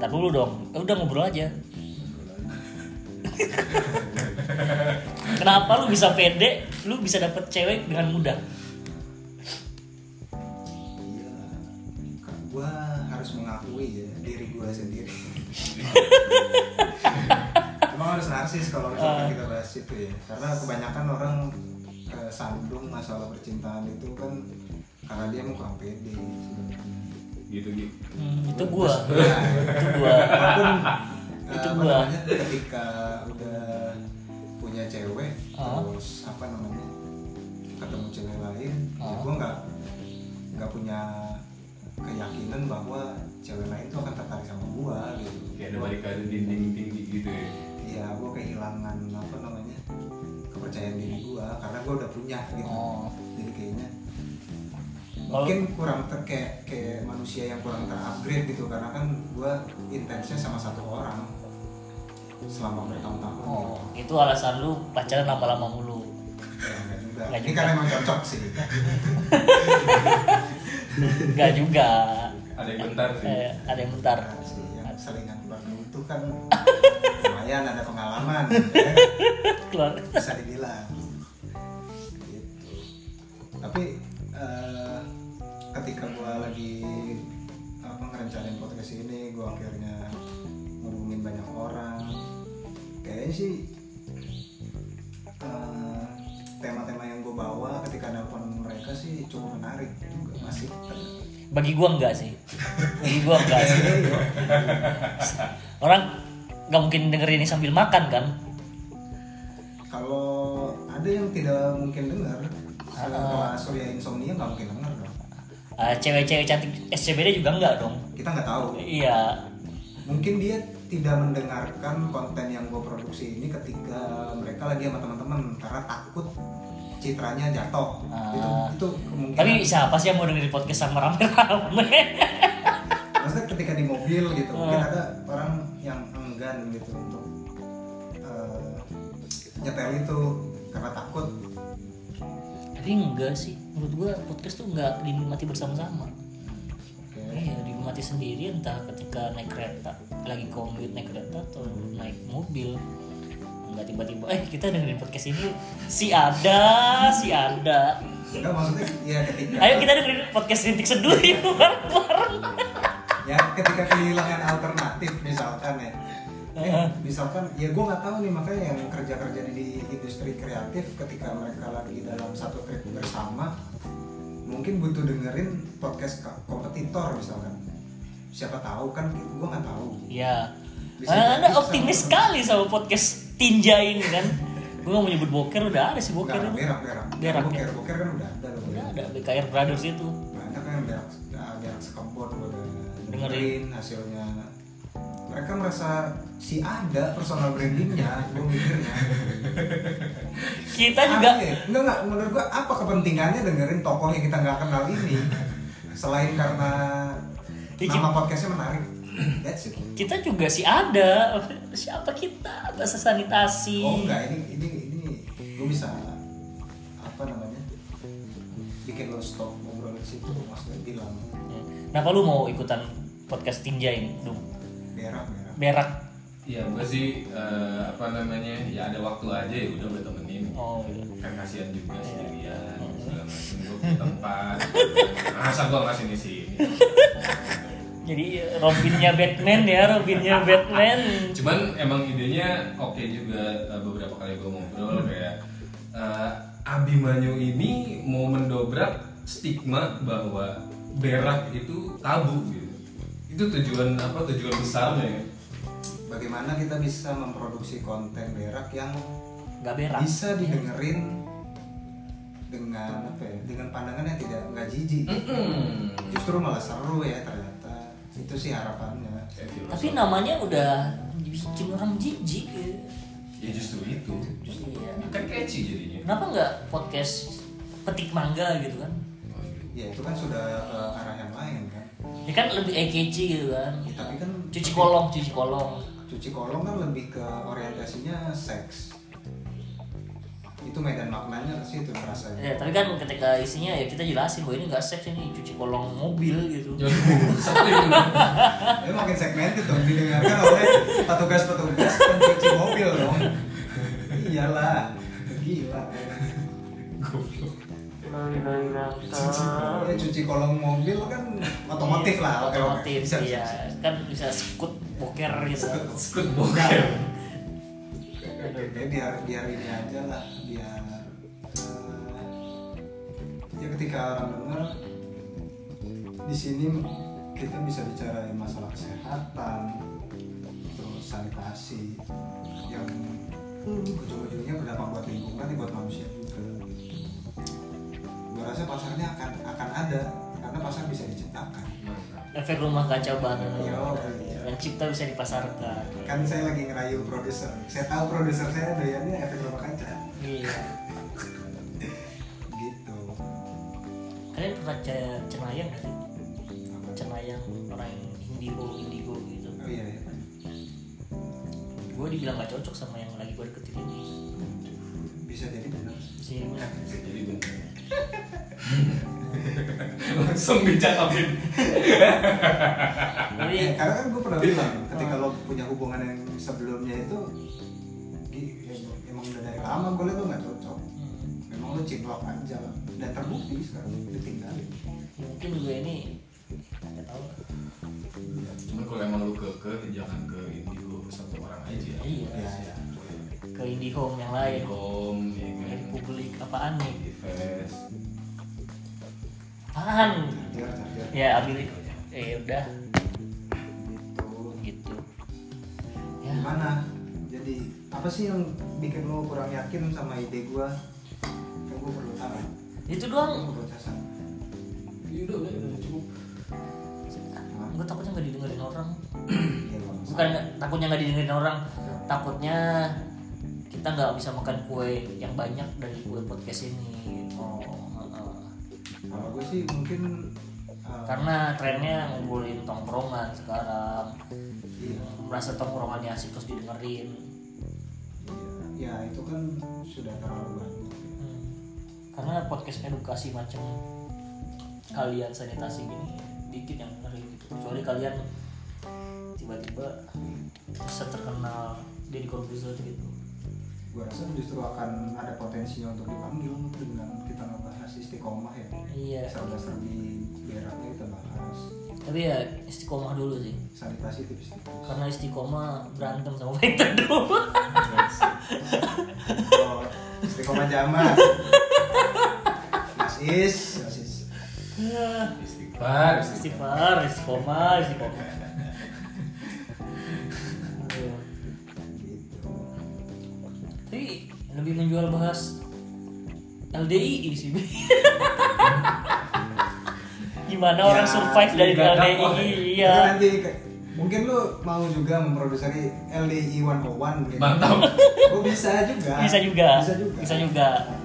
Ntar dulu dong. Eh, udah ngobrol aja. Kenapa lu bisa pede? Lu bisa dapet cewek dengan mudah. Iya. Kan Gua harus mengakui ya diri gua sendiri. Emang harus narsis kalau Ah. misalkan kita bahas itu ya. Karena kebanyakan orang eh, sandung masalah percintaan itu kan karena dia mau kurang pede sebenarnya. gitu gitu Hmm, itu gua. Nah, Itu gua. walaupun eh, Itu apa gua. namanya, ketika udah punya cewek Ah. terus apa namanya ketemu cewek lain ya Ah. gue nggak nggak punya keyakinan bahwa cewek lain tuh akan tertarik sama gua gitu kayak ada balik ke dinding tinggi gitu ya ya gua kehilangan apa namanya kepercayaan diri gua karena gua udah punya gitu Oh. jadi kayaknya Kalau- mungkin kurang ter kayak, kayak manusia yang kurang terupgrade gitu karena kan gua intensnya sama satu orang selama gitu. bertahun-tahun Oh, itu alasan lu pacaran lama-lama mulu. gitu. Ya, enggak juga. Enggak ini juga. karena emang cocok sih Enggak juga. ada yang bentar sih Eh, ada yang bentar. Nah, si yang selingan baru itu kan lumayan ada pengalaman ya. Keluar. bisa dibilang gitu tapi eh, ketika gua lagi apa ngerencanain podcast ini gua akhirnya ngomongin banyak orang kayaknya sih eh, tema-tema yang gue bawa ketika nelpon mereka sih cukup menarik juga masih Bagi gua enggak sih. Bagi gua enggak sih. Iya. Orang nggak mungkin dengerin ini sambil makan kan? kalau ada yang tidak mungkin dengar kalau Surya Insomnia nggak mungkin dengar dong Eh, Cewek-cewek cantik SCBD juga enggak dong. kita nggak tahu Iya, mungkin dia tidak mendengarkan konten yang gue produksi ini ketika mereka lagi sama teman-teman karena takut citranya jatuh Ah. itu itu kemungkinan Tapi siapa sih yang mau dengerin podcast sama rame-rame? maksudnya ketika di mobil gitu Ah. mungkin ada orang yang enggan gitu untuk eh, nyetel itu karena takut Tapi enggak sih, menurut gua podcast tuh enggak dinikmati bersama-sama. Oke. Iya, dinikmati sendiri entah ketika naik kereta, lagi commute naik kereta atau naik mobil. Enggak tiba-tiba, eh kita dengerin podcast ini si ada, si ada. enggak maksudnya ya ketika Ayo kita dengerin podcast rintik seduh yuk bareng-bareng. ya ketika kehilangan alternatif misalkan ya Eh, misalkan ya gue nggak tahu nih makanya yang kerja kerja di industri kreatif ketika mereka lagi dalam satu trip bersama mungkin butuh dengerin podcast ka- kompetitor misalkan siapa tahu kan gue nggak tahu Iya. Bisa Ah, Anda jadi optimis sama- sekali sama podcast Tinja ini kan. Gua nggak mau nyebut boker udah ada sih boker. nggak ini. berak berak Berak, ya. boker boker kan udah ada loh Udah ada BKR Brothers itu. banyak kan yang berak ah, berak sekebon gua udah Dengerin. dengerin hasilnya mereka merasa si ada personal brandingnya gue mikirnya Kita juga Aneh. enggak enggak menurut gua apa kepentingannya dengerin tokoh yang kita nggak kenal ini selain karena Ih, nama podcastnya menarik that's it kita juga sih ada siapa kita bahasa sanitasi oh enggak ini ini ini gua bisa apa namanya bikin lo stop ngobrol di situ maksudnya bilang kenapa lu mau ikutan podcast tinja ini Dum? berak berak berak ya gue sih eh, apa namanya ya ada waktu aja ya udah gue temenin oh iya. Oh. kan kasihan juga sendirian segala macam gue ke tempat masa gue ngasih di sini jadi eh, Robinnya Batman ya Robinnya Batman cuman emang idenya oke juga eh, beberapa kali gue ngobrol Hmm. kayak eh, Abimanyu ini mau mendobrak stigma bahwa berak itu tabu gitu itu tujuan apa tujuan besarnya ya bagaimana kita bisa memproduksi konten berak yang nggak berak bisa didengerin dengan apa ya dengan pandangan yang tidak nggak jijik Mm-mm. justru malah seru ya ternyata itu sih harapannya Kayak gitu. filosofi. tapi namanya udah bikin orang jijik ya. ya justru itu Justru ya. kan catchy jadinya kenapa nggak podcast petik mangga gitu kan ya itu kan sudah ke arah yang lain kan ya kan lebih eye catchy gitu kan Ya, tapi kan cuci kolong cuci kolong cuci kolong kan lebih ke orientasinya seks itu medan maknanya ke situ rasanya Ya, tapi kan ketika isinya ya kita jelasin bahwa ini nggak seks ini cuci kolong mobil gitu. Jadi sakit bener. Ini Ya, makin segmented dong didengarkan oleh petugas-petugas pencuci mobil dong. Iyalah, gila. Goblok. Ya, cuci kolong mobil kan otomotif lah, Otomotif, Bisa, bisa, iya. bisa. Kan bisa skut boker gitu. Skut bokeh. Oke, biar biar ini aja lah, biar eh, ya ketika orang dengar di sini kita bisa bicarain masalah kesehatan, terus sanitasi yang ujung-ujungnya berdampak buat lingkungan, ya buat manusia juga. Gue rasa pasarnya akan akan ada karena pasar bisa diciptakan. Efek rumah kaca banget. Iya, iya. Dan cipta bisa dipasarkan. Kan saya lagi ngerayu produser. Saya tahu produser saya doyannya efek rumah kaca. Iya. Gitu. Kalian pernah ce- cenayang nggak sih? Apa? Cenayang orang yang indigo indigo gitu. Oh iya, iya. Gue dibilang gak cocok sama yang lagi gue deketin ini. bisa jadi benar. Si Jadi bener. Langsung dicakapin. Tapi Eh, karena kan gue pernah Iya. bilang ketika Ah. lo punya hubungan yang sebelumnya itu gi- em- emang udah dari lama gue liat lo nggak cocok. hmm, Memang lo ciplok aja lah. dan terbukti sekarang ditinggalin. ya mungkin juga ini nggak tahu. Cuman kalau emang lu kekeh jangan ke indigo satu orang aja. Iya. Ya, ya. Ke IndiHome yang lain. Home, ya Dari kan. publik apaan nih? Invest. Apaan? Charger, charger. Ya ambil itu. Eh udah Gitu. gitu. Ya. Gimana? Jadi apa sih yang bikin lo kurang yakin sama ide gue? Kan gue perlu tahu. Itu Gue doang. perlu casan. Ya udah, udah, udah cukup. Gue takutnya nggak didengerin orang. Ya, lo Bukan nggak- takutnya nggak didengerin orang. Takutnya kita nggak bisa makan kue yang banyak dari kue podcast ini. Gitu. Oh. Heeh. Kalau gue sih mungkin eh, Karena trennya ngumpulin tongkrongan sekarang. iya. Merasa tongkrongannya asik terus didengerin. ya itu kan sudah terlalu banyak Hmm. Karena podcast edukasi macam kalian sanitasi gini dikit yang dengerin gitu. Kecuali kalian tiba-tiba bisa terkenal jadi komposer gitu. gue rasa justru akan ada potensinya untuk dipanggil dengan kita ngebahas istiqomah ya Iya. serba-serbi beraknya kita bahas Tapi ya istiqomah dulu sih. sanitasi tipis tipis Karena istiqomah berantem sama fighter dulu. oh, istiqomah jaman mas is mas is Istighfar, Istighfar, istiqomah, istiqomah. Aduh. gitu Tapi lebih menjual bahas LDI sih. Gimana Ya, orang survive dari nggak LDI? dapat. Iya. Tapi nanti ke- mungkin lu mau juga memproduksi LDI 101 gitu Mantap. gue bisa juga Bisa juga. bisa juga, Bisa juga. Eh,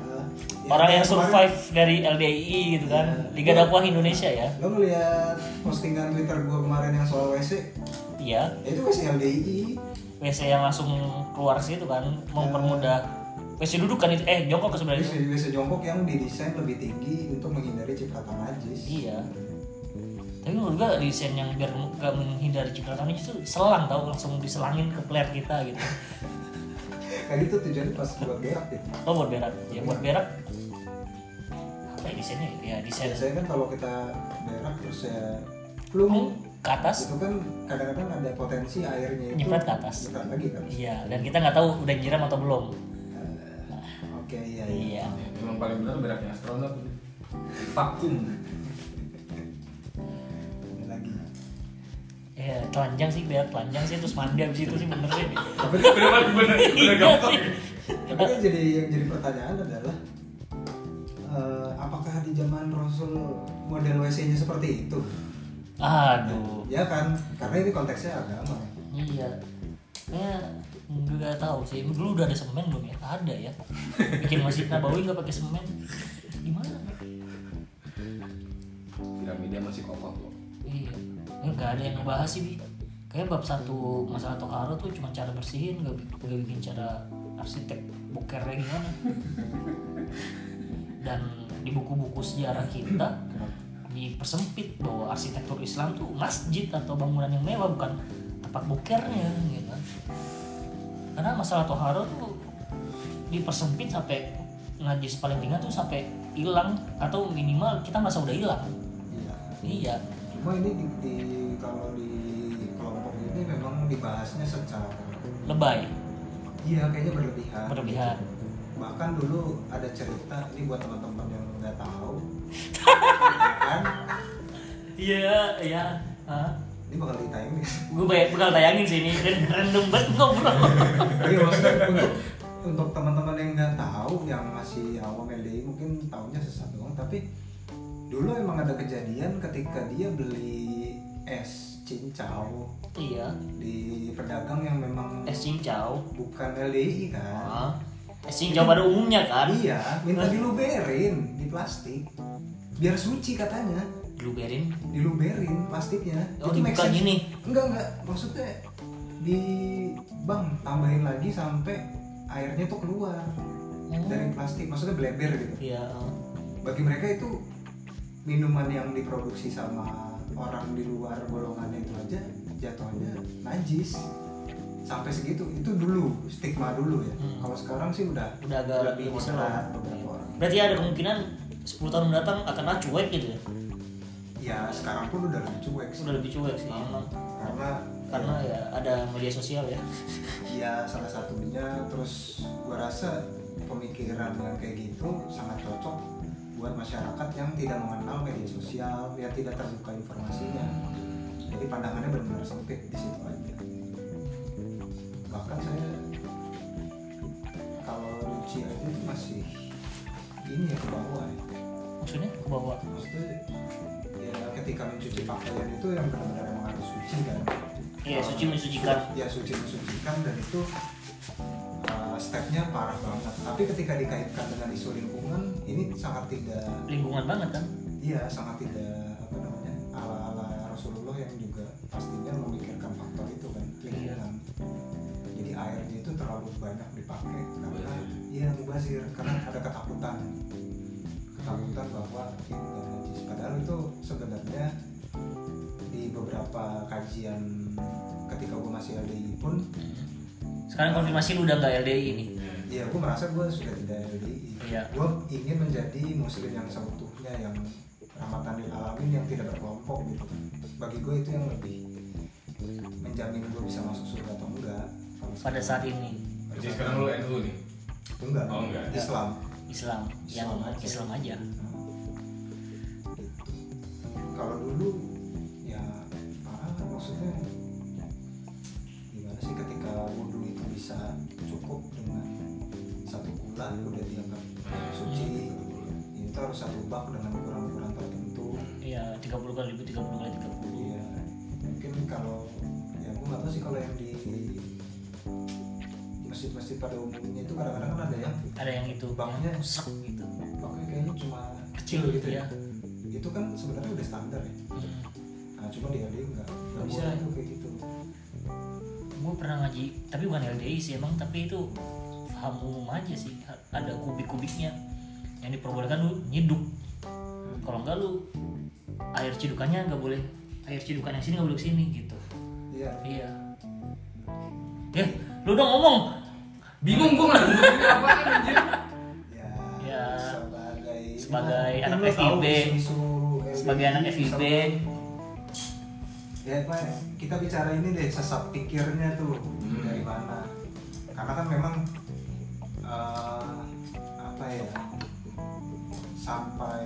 ya, Orang yang kayak kemarin- survive dari LDI gitu kan. Iya. Liga Dakwah Indonesia ya. lo ngeliat postingan twitter gue kemarin yang soal WC Iya. ya itu WC LDI WC yang langsung keluar situ kan mempermudah Iya. WC duduk kan itu eh jongkok sebenarnya WC, WC jongkok yang didesain lebih tinggi untuk menghindari cipratan najis iya tapi menurut gua desain yang biar gak menghindari cipratan itu tuh selang tau langsung diselangin ke player kita gitu kayak gitu tujuannya pas buat berak gitu oh buat berak ya buat berak apa ya desainnya ya desain biasanya kan kalau kita berak terus ya plung ke atas itu kan kadang-kadang ada potensi airnya itu Nyiprat ke atas. nyiprat lagi kan iya dan kita nggak tahu udah nyiram atau belum Eh, oke iya iya Nah. iya Ya, Emang paling benar beratnya astronot. Vakum. Ini lagi ya telanjang sih berak telanjang sih terus mandi abis itu sih bener sih tapi kan- Bener bener bener Iya gampang. sih. tapi kan jadi yang jadi pertanyaan adalah eh, apakah di zaman Rasul model WC-nya seperti itu? aduh Ya kan, karena ini konteksnya agama. Iya. Ya, nggak tahu sih. Dulu udah ada semen belum ya? Ada ya. Bikin masjid Nabawi nggak pakai semen? Gimana? Piramida masih kokoh kok. Iya. Nggak ada yang ngebahas sih. Bi. Kayaknya bab satu masalah tokaro tuh cuma cara bersihin, nggak bi- nggak bikin cara arsitek bokernya gimana dan di buku-buku sejarah kita dipersempit bahwa arsitektur Islam tuh masjid atau bangunan yang mewah bukan tempat bokernya gitu karena masalah toharo tuh dipersempit sampai najis paling tinggi tuh sampai hilang atau minimal kita merasa udah hilang Iya. iya Cuma ini di, di- kalau di kelompok ini memang dibahasnya secara lebay iya kayaknya berlebihan. berlebihan Bahkan dulu ada cerita ini buat teman-teman yang nggak tahu. kan iya iya Hah? ini bakal ditayangin. gue banyak bakal tayangin sih ini Ren- random banget ngobrol Iya maksudnya untuk untuk teman-teman yang nggak tahu yang masih awam LDI mungkin tahunya sesat doang tapi dulu emang ada kejadian ketika dia beli es cincau iya di pedagang yang memang es cincau bukan LDI kan Hah? es cincau pada umumnya kan iya minta diluberin di plastik biar suci katanya Blueberry diluberin plastiknya oh Jadi make dibuka sense. gini enggak enggak maksudnya di bang tambahin lagi sampai airnya tuh keluar Oh. dari plastik maksudnya bleber gitu iya eh. bagi mereka itu minuman yang diproduksi sama orang di luar golongannya itu aja jatuhnya najis sampai segitu itu dulu stigma dulu ya Hmm. kalau sekarang sih udah udah agak udah lebih lebih moderat. moderat beberapa orang berarti ada kemungkinan 10 tahun mendatang akan ah, cuek gitu ya ya sekarang pun udah lebih cuek sih udah lebih cuek sih Iya. emang karena karena ya ada media sosial ya ya salah satunya terus gua rasa pemikiran yang kayak gitu sangat cocok buat masyarakat yang tidak mengenal media sosial yang tidak terbuka informasinya jadi pandangannya benar-benar sempit di situ aja bahkan saya kalau lucu aja itu masih ini ya ke bawah ya maksudnya ke bawah maksudnya ya ketika mencuci pakaian itu yang benar-benar emang harus suci kan iya suci mensucikan ya suci mensucikan dan itu uh, stepnya parah banget tapi ketika dikaitkan dengan isu lingkungan ini sangat tidak lingkungan banget kan iya sangat tidak apa namanya ala ala Rasulullah yang juga pastinya memikirkan faktor itu kan lingkungan jadi airnya itu terlalu banyak dipakai karena iya mubazir karena ada ketakutan ketakutan bahwa ini udah najis padahal itu sebenarnya di beberapa kajian ketika gue masih LDI pun sekarang konfirmasi lu udah nggak LDI ini ya gue merasa gue sudah tidak LDI Iya. gue ingin menjadi muslim yang seutuhnya yang rahmatan lil alamin yang tidak berkelompok gitu bagi gue itu yang lebih menjamin gue bisa masuk surga atau enggak Kalau pada saat ini Jadi sekarang lu NU nih. enggak Oh, enggak. Islam Islam yang Islam aja. Islam aja Gitu. kalau dulu ya parah lah, maksudnya gimana sih ketika wudhu itu bisa cukup dengan satu bulan udah dianggap suci itu harus satu bak dengan ukuran-ukuran tertentu iya 30 kali ribu 30 kali 30 Iya, mungkin kalau ya gue nggak tahu sih kalau yang di masjid-masjid pada umumnya itu kadang-kadang kan ada yang ada yang itu Bangunnya. yang sek gitu Iya. pakai kayaknya cuma kecil gitu ya. Itu kan sebenarnya udah standar ya. Hmm. Nah, cuma di LDI nggak nggak Bisa. bisa tuh kayak gitu. gue pernah ngaji tapi bukan LDI sih emang tapi itu paham umum aja sih ada kubik-kubiknya yang diperbolehkan lu nyiduk Hmm. kalau enggak lu air cidukannya nggak boleh air cidukan yang sini nggak boleh ke sini gitu Iya. iya ya lu udah ngomong Bingung gua nggak ngomongin apaan anjir. Ya, Ya. sebagai Sebagai Kan anak lo tahu FIB. isu-isu LDI, sebagai anak FIB ya Pak, kita bicara ini deh sesat pikirnya tuh dari mana karena kan memang eh, apa ya sampai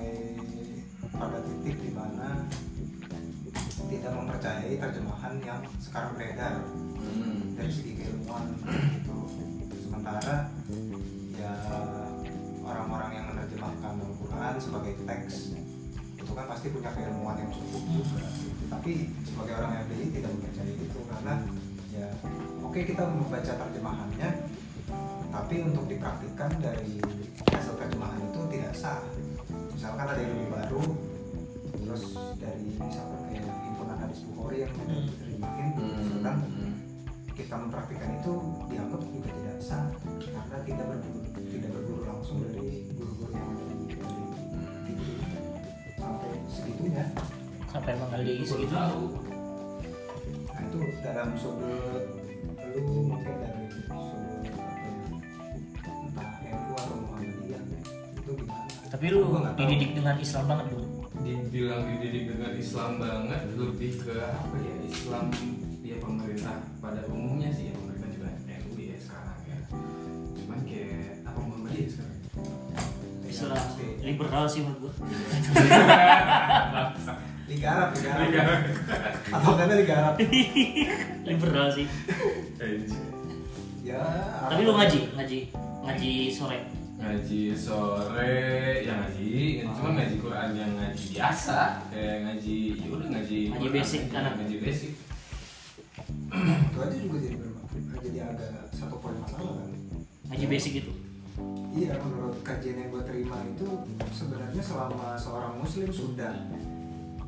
pada titik di mana tidak mempercayai terjemahan yang sekarang beredar dari segi keilmuan gitu sementara ya orang-orang yang menerjemahkan Al-Quran sebagai teks itu kan pasti punya keilmuan yang cukup juga gitu. tapi sebagai orang LDI tidak mempercayai itu karena ya oke kita membaca terjemahannya tapi untuk dipraktikkan dari hasil terjemahan itu tidak sah misalkan ada ilmu baru terus dari misalkan kayak himpunan hadis Bukhari yang tidak Hmm. diterjemahin misalkan kita mempraktikkan itu dianggap juga tidak sah karena ya sampai menghargai Belum segitu tahu. nah itu dalam sudut lu mungkin dari sudut apa ya entah MU atau Muhammadiyah itu gimana tapi lu Gua nggak tahu. dididik dengan Islam banget dong dibilang dididik dengan Islam banget lebih ke apa ya Islam ya pemerintah pada umumnya sih ya pemerintah juga NU ya sekarang ya cuman kayak apa Muhammadiyah sekarang Ya, Islam pasti. liberal sih menurut gua Liga Arab Liga Arab Liga Arab. atau kata Liga Arab liberal sih ya tapi lu ngaji ngaji ngaji sore ngaji sore ya ngaji Oh. cuma ngaji Quran yang ngaji biasa kayak ngaji ya udah ngaji Ngaji Quran, basic, anak. ngaji basic itu aja juga jadi bermasalah jadi agak satu poin masalah kan ngaji basic gitu. itu Iya, menurut kajian yang gue terima itu sebenarnya selama seorang muslim sudah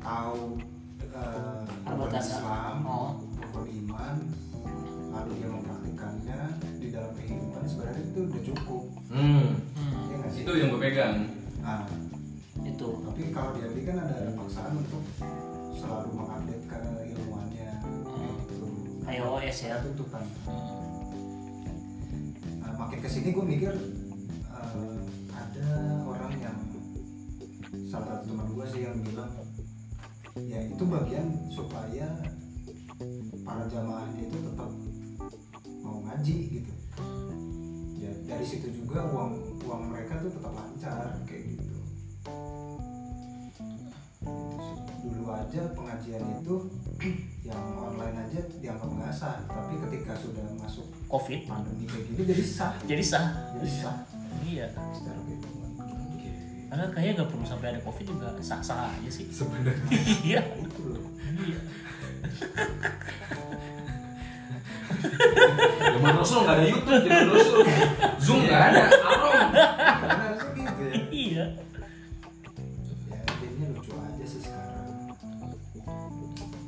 tahu eh, tentang Perbatasan. Islam, Oh. rukun iman, lalu dia mempraktikannya di dalam kehidupan sebenarnya itu udah cukup. hmm. Iya nggak sih? itu yang gue pegang Nah, itu tapi kalau di MD kan ada, ada paksaan untuk selalu mengupdate gitu. karena ilmuannya. Hmm. Itu Kayak OS ya. tuntutan. Nah, makin kesini gue mikir eh, ada orang yang salah satu teman gue sih yang bilang ya itu bagian supaya para jamaah itu tetap mau ngaji gitu. Ya, dari situ juga uang uang mereka tuh tetap lancar kayak gitu. Gitu sih. Dulu aja pengajian itu yang online aja dianggap nggak sah, tapi ketika sudah masuk covid pandemi kayak gini jadi sah jadi sah jadi sah iya secara kehidupan Oke. karena kayaknya nggak perlu sampai ada covid juga sah sah aja sih sebenarnya iya itu Gitu loh zaman Rasul nggak ada YouTube zaman Rasul Zoom nggak ada Arom karena harusnya gitu ya iya ya jadinya lucu aja sih sekarang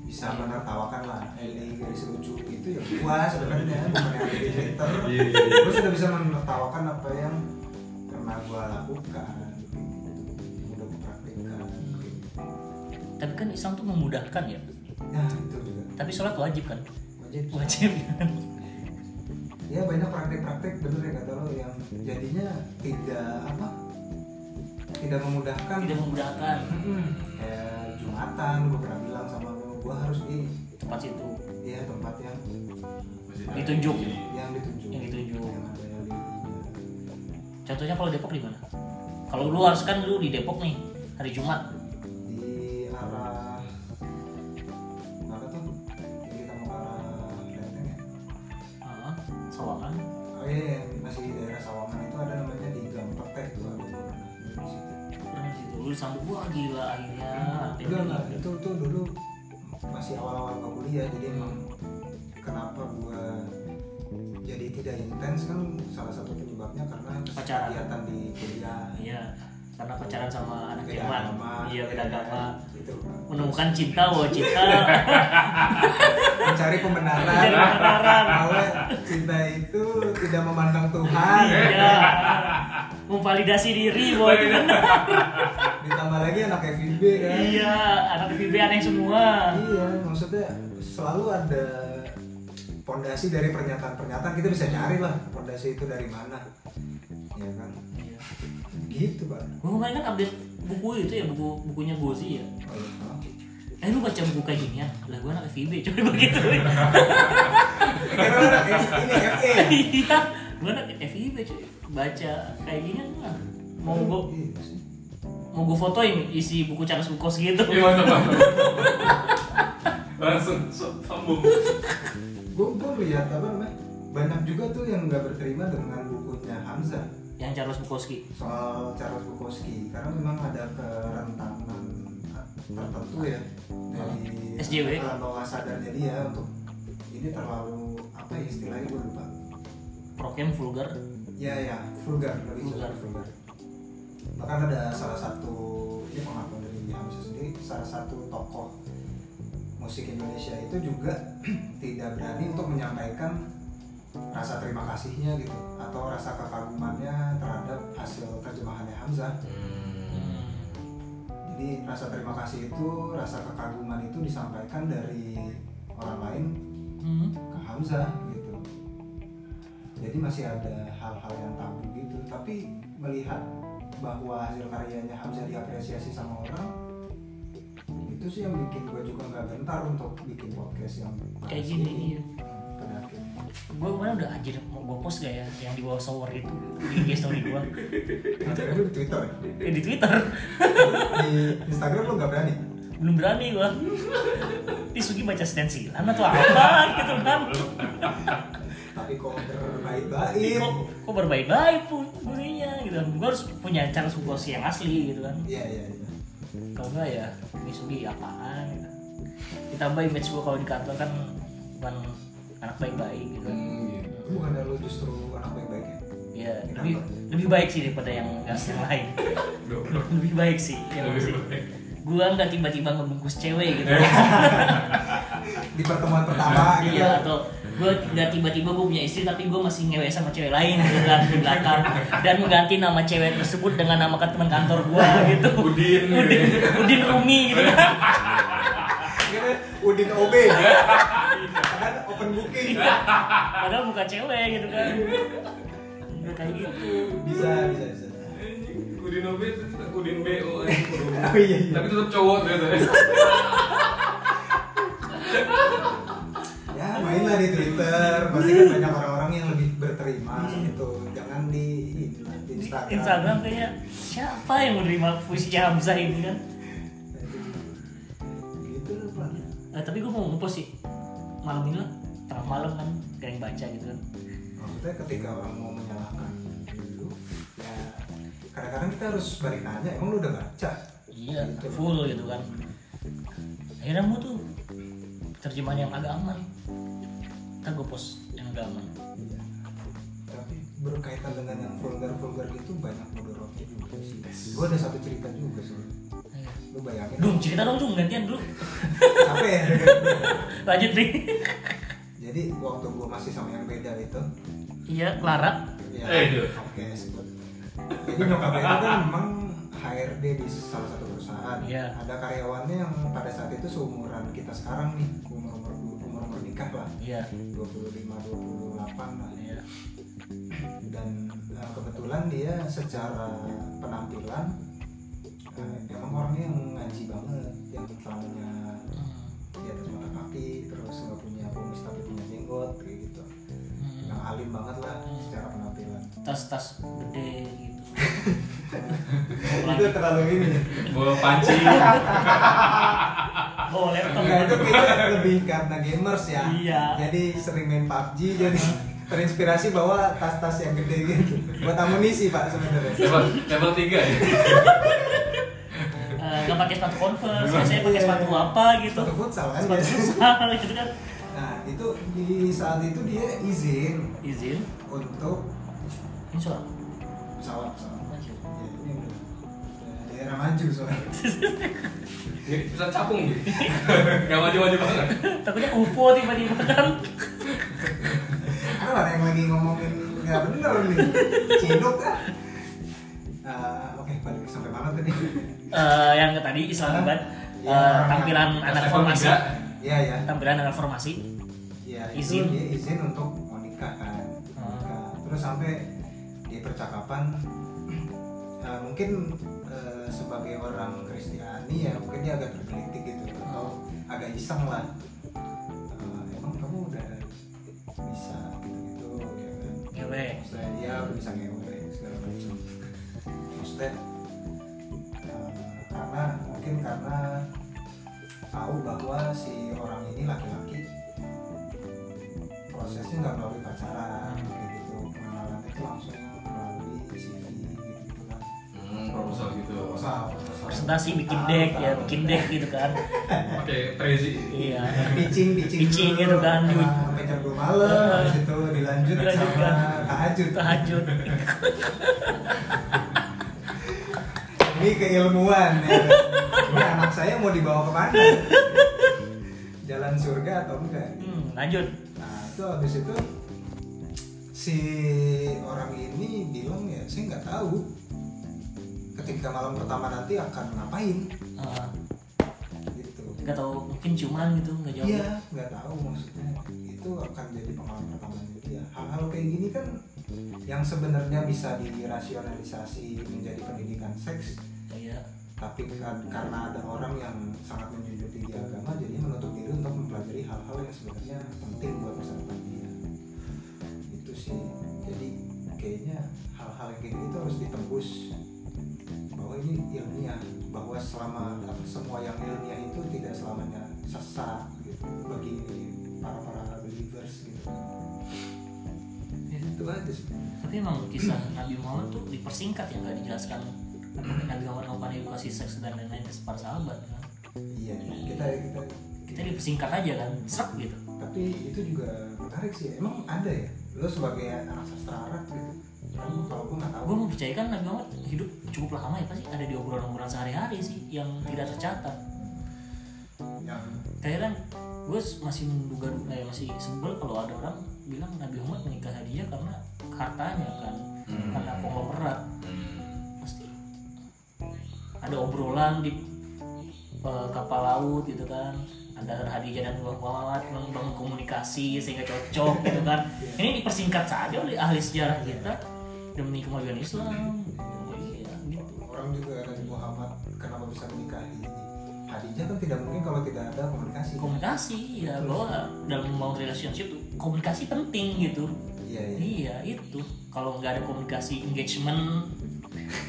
bisa menertawakan lah ini garis lucu itu ya gua sebenarnya bukan yang ada di Twitter Iya, iya, iya. gua sudah bisa menertawakan apa yang pernah gua lakukan udah gua praktekkan Iya. tapi kan Islam tuh memudahkan ya nah itu juga tapi sholat wajib kan wajib wajib kan ya banyak praktek-praktek bener ya kata lo yang jadinya tidak apa tidak memudahkan tidak memudahkan kayak jumatan gue pernah bilang sama lu gue harus di tempat situ ya tempat yang Ditunjuk. yang ditunjuk Yang ditunjuk. yang ada yang di contohnya kalau Depok di mana kalau lu harus kan lu di Depok nih hari Jumat di arah mana tuh yang kita mau ke arah Lenteng ya Ah, Sawangan oh iya yang masih di daerah Sawangan itu ada namanya di Gang Petek tuh ada gua pernah duduk di situ pernah di situ lu disambut wah gila akhirnya Hmm, gitu. enggak enggak itu tuh dulu masih awal-awal ke kuliah jadi Hmm. emang kenapa gue jadi tidak intens kan salah satu penyebabnya karena Pacaran. kegiatan di kuliah iya karena pacaran sama anak beda Jerman agama iya beda agama gitu menemukan cinta wah cinta mencari Mencari pembenaran kebenaran bahwa cinta itu tidak memandang Tuhan iya memvalidasi diri wah itu kan ditambah lagi anak FIB kan iya anak PB aneh semua Iya, maksudnya selalu ada pondasi dari pernyataan-pernyataan kita bisa cari lah pondasi itu dari mana, ya kan? iya Gitu pak. Gua kemarin kan update buku itu ya buku bukunya Gozi ya Oh, iya, Pak. eh lu baca buku kayak gini ya lah gua anak FIB coba begitu Eh, Karena lu anak ini FE. iya gua anak FIB coy baca kayak gini lah mau gua Iya sih. mau gua fotoin isi buku Charles Bukos gitu Iya mantap mantap. Langsung sok sambung. Gue gue lihat apa namanya? Banyak juga tuh yang nggak berterima dengan bukunya Hamzah yang Charles Bukowski soal Charles Bukowski karena memang ada kerentanan tertentu ya dari SJW. alam bawah sadarnya dia untuk ini terlalu apa ya istilahnya gue lupa prokem vulgar Ya ya, vulgar lebih vulgar. Vulgar. vulgar. Bahkan ada salah satu ini pengakuan dari Hamzah sendiri, salah satu tokoh musik Indonesia itu juga tidak berani untuk menyampaikan rasa terima kasihnya gitu atau rasa kekagumannya terhadap hasil terjemahannya Hamzah. Jadi Jadi rasa terima kasih itu, rasa kekaguman itu disampaikan dari orang lain Hmm. ke Hamzah gitu. Jadi masih ada hal-hal yang tabu gitu. Tapi melihat bahwa hasil karyanya Hamzah diapresiasi sama orang, itu sih yang bikin gue juga nggak gentar untuk bikin podcast yang Kayak gini, iya. Penyakit. gue kemarin udah anjir mau gue post gak ya yang di bawah shower itu di IG story gue Itu itu di Twitter. ya? eh, di Twitter Di Instagram lu nggak berani. belum berani gue ini Sugi baca stensilan atau apa gitu kan Tapi kok Ih, berbaik-baik. kok, kok berbaik-baik pun punya gitu kan gue harus punya cara sugesti yang asli gitu kan Iya iya. iya. kalau enggak ya ini Sugi apaan gitu ditambah image gue kalau di kantor kan bukan anak baik-baik gitu kan Iya. Bukan lu justru anak baik-baik ya? ya lebih lebih baik sih daripada yang yang lain lebih baik sih ya nggak sih? gua nggak tiba-tiba ngebungkus cewek gitu Di pertemuan pertama gitu. iya atau gue nggak tiba-tiba gue punya istri tapi gue masih ngewe sama cewek lain gitu kan di belakang dan mengganti nama cewek tersebut dengan nama teman kantor gue gitu Udin, gitu Udin, Udin Rumi gitu kan Kira Udin OB. Kan open booking. padahal bukan cewek gitu kan Udah kayak gitu Bisa bisa bisa. Udin OB itu tetap Udin BO Oh iya iya. Tapi tetap cowok ternyata Ya mainlah di Twitter. Pasti kan banyak orang-orang yang lebih berterima gitu. Jangan di inilah, di Hmm. Di Instagram. Instagram kayaknya siapa yang menerima puisi Hamzah ini kan Gitu lah Pak. Eh, tapi gue mau ngepost sih malam ini lah tengah malam kan gak ada yang baca gitu kan Maksudnya ketika orang mau menyalahkan dulu ya kadang-kadang kita harus balik nanya emang lu udah baca iya full gitu kan akhirnya mau tuh terjemahan yang agak aman ntar gue post yang agak aman Iya. tapi berkaitan dengan yang vulgar vulgar gitu banyak mudaratnya juga sih gue ada satu cerita juga sih Ayo. lu bayangin Dung, cerita dong Dung, gantian dulu apa ya Lanjut nih jadi waktu gue masih sama yang beda itu Iya, Clara ya Eh, duh. oke sebut jadi nyokap itu kan memang HRD di salah satu perusahaan Iya. ada karyawannya yang pada saat itu seumuran kita sekarang nih umur umur umur umur nikah lah Iya 25 28 lah Iya dan eh, kebetulan dia secara penampilan eh, emang orangnya yang ngaji banget yang celana Hmm, di atas Iya, mata kaki terus nggak punya kumis tapi punya jenggot kayak gitu yang Hmm. alim banget lah secara penampilan Tas-tas gede gitu itu terlalu ini Bola pancing Oh, laptop enggak Nah, itu kita lebih karena gamers ya Iya. jadi sering main PUBG jadi terinspirasi bahwa tas-tas yang gede gitu buat amunisi pak sebenarnya Level, level 3 ya Eh, Gak pakai sepatu converse, biasanya pakai sepatu apa gitu Iya. Sepatu futsal kan Sepatu biasanya. futsal gitu kan nah itu di saat itu dia izin Izin untuk Ini suara pesawat pesawat Lanjut. ya, ini udah udah daerah maju soalnya Bisa capung gitu Gak maju-maju banget Takutnya UFO tiba-tiba kan ada orang yang lagi ngomongin nggak bener nih ciduk kan Eh, oke balik sampai mana tadi Eh, Yang tadi Islam Abad Iya. eh, Tampilan anak Level formasi 3 ya ya Tampilan anak formasi ya Izin. Ah. izin dia izin untuk mau nikah kan Mau nikah. terus sampai di percakapan eh, mungkin eh, sebagai orang Kristiani ya mungkin dia agak tergelitik gitu atau agak iseng lah Eh, emang kamu udah bisa gitu ya kan Ngewe maksudnya dia udah bisa ngewe segala macam maksudnya eh, karena mungkin karena tahu bahwa si orang ini laki-laki prosesnya nggak melalui pacaran kayak gitu pengenalannya itu langsung melalui CV gitu kan Hmm, proposal gitu proposal presentasi bikin deck ya bikin deck gitu kan Pakai Trezi iya pitching pitching, Pitching dulu, gitu kan. nah, sampai jam 2 malam Eh. habis itu dilanjut Dilanjutkan. sama tahajud tahajud ini keilmuan ya. Ini anak saya mau dibawa kemana jalan surga atau enggak hmm, lanjut nah itu habis itu si orang ini bilang ya saya nggak tahu ketika malam pertama nanti akan ngapain Ah, gitu nggak tahu mungkin cuman gitu nggak jauh iya nggak tahu maksudnya itu akan jadi pengalaman pertama jadi ya hal-hal kayak gini kan yang sebenarnya bisa dirasionalisasi menjadi pendidikan seks iya tapi kan- karena ada orang yang sangat menjunjung tinggi agama jadi menutup diri untuk mempelajari hal-hal yang sebenarnya penting buat masa depan dia itu sih jadi kayaknya hal-hal yang kayak gitu harus ditembus bahwa ini ilmiah bahwa selama apa, semua yang ilmiah itu tidak selamanya sesat gitu bagi para para believers gitu Ya, itu aja sih tapi emang kisah Nabi Muhammad tuh dipersingkat ya nggak dijelaskan Nabi Muhammad melakukan edukasi seks dan lain-lain ke para sahabat kan? iya kita kita kita dipersingkat aja kan seret gitu tapi itu juga menarik sih emang ada ya lo sebagai anak sastra Arab gitu kan kalau gue nggak tahu gue mempercayakan Nabi Muhammad hidup cukup lama ya pasti ada di obrolan-obrolan sehari-hari sih yang tidak tercatat yang kayak kan gue masih menduga eh, masih sebel kalau ada orang bilang Nabi Muhammad menikah dia karena hartanya kan Hmm. karena konglomerat Hmm. pasti ada obrolan di eh, kapal laut gitu kan antara Hadijah dan Bang Muhammad membangun komunikasi sehingga cocok gitu kan ini dipersingkat saja oleh ahli sejarah kita demi kemajuan Islam Iya, gitu. ya. orang juga Nabi Muhammad kenapa bisa menikahi Khadijah kan tidak mungkin kalau tidak ada komunikasi komunikasi ya bahwa dalam membangun relationship tuh komunikasi penting gitu iya iya iya itu kalau nggak ada komunikasi engagement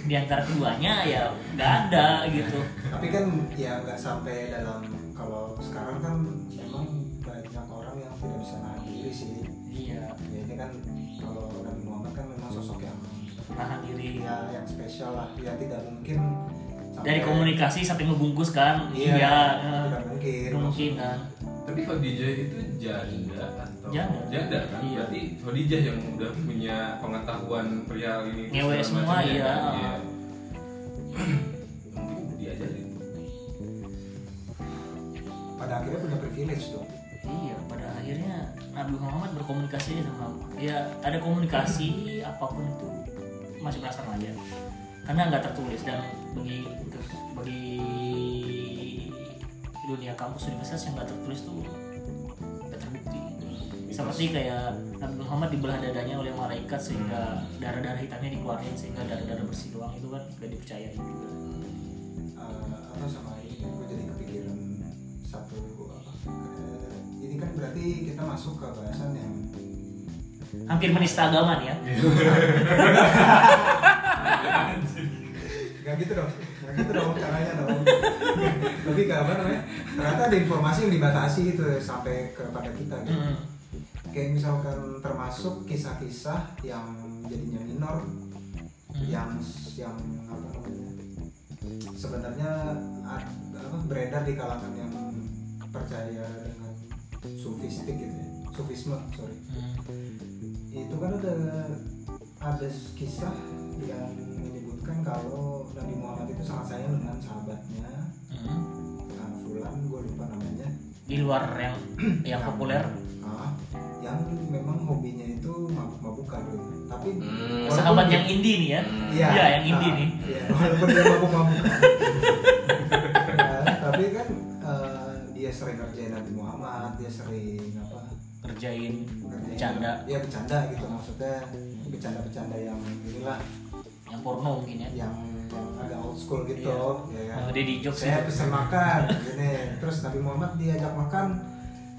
di antara keduanya ya nggak ada gitu tapi kan ya nggak sampai dalam kalau sekarang kan emang banyak orang yang tidak bisa nahan diri sih iya ya ini kan kalau Nabi Muhammad kan memang sosok yang menahan diri ya yang spesial lah ya tidak mungkin sampai- dari komunikasi sampai ngebungkus kan iya iya tidak mungkin mungkin kan Tapi Khadijah itu janda atau Janda. janda kan? Iya. Berarti Khadijah yang udah punya pengetahuan perihal ini terus Ngewe segala semua, macamnya, iya. kan? Iya. Mungkin diajarin. pada akhirnya punya privilege dong iya pada akhirnya Nabi Muhammad berkomunikasi aja sama Allah. ya ada komunikasi apapun itu masih perasaan aja karena nggak tertulis dan bagi bagi dunia kampus universitas yang nggak tertulis tuh nggak terbukti seperti kayak Nabi Muhammad dibelah dadanya oleh malaikat sehingga darah-darah hitamnya dikeluarin sehingga darah-darah bersih doang itu kan nggak dipercayai juga Eh, atau sama ini gue jadi kepikiran satu apa eh, ini kan berarti kita masuk ke bahasan yang hampir menista agama nih ya nggak gitu dong nggak gitu dong caranya dong lebih ke apa namanya ternyata ada informasi yang dibatasi gitu sampai kepada kita gitu Hmm. kayak misalkan termasuk kisah-kisah yang jadinya minor Hmm. yang yang apa namanya sebenarnya ad- apa, beredar di kalangan yang percaya dengan sufistik gitu ya sufisme sorry Hmm. itu kan ada ada kisah yang menyebutkan kalau Nabi Muhammad itu sangat sayang dengan sahabatnya Hmm. ah, Fulan gue lupa namanya di luar yang yang populer ah, yang memang hobinya itu mabuk-mabukan gitu. tapi Hmm. Walaupun sahabat dia- yang indie nih ya Hmm. Iya. yang indie nah, nih. iya, walaupun dia mabuk-mabukan Nah, tapi kan eh, dia sering ngerjain Nabi Muhammad dia sering apa kerjain ngerjain- Bercanda. ya bercanda gitu maksudnya bercanda-bercanda yang inilah yang porno mungkin ya yang yang agak old school gitu ya kan? Yang Deddy Jokes saya gitu. pesen makan gini terus Nabi Muhammad diajak makan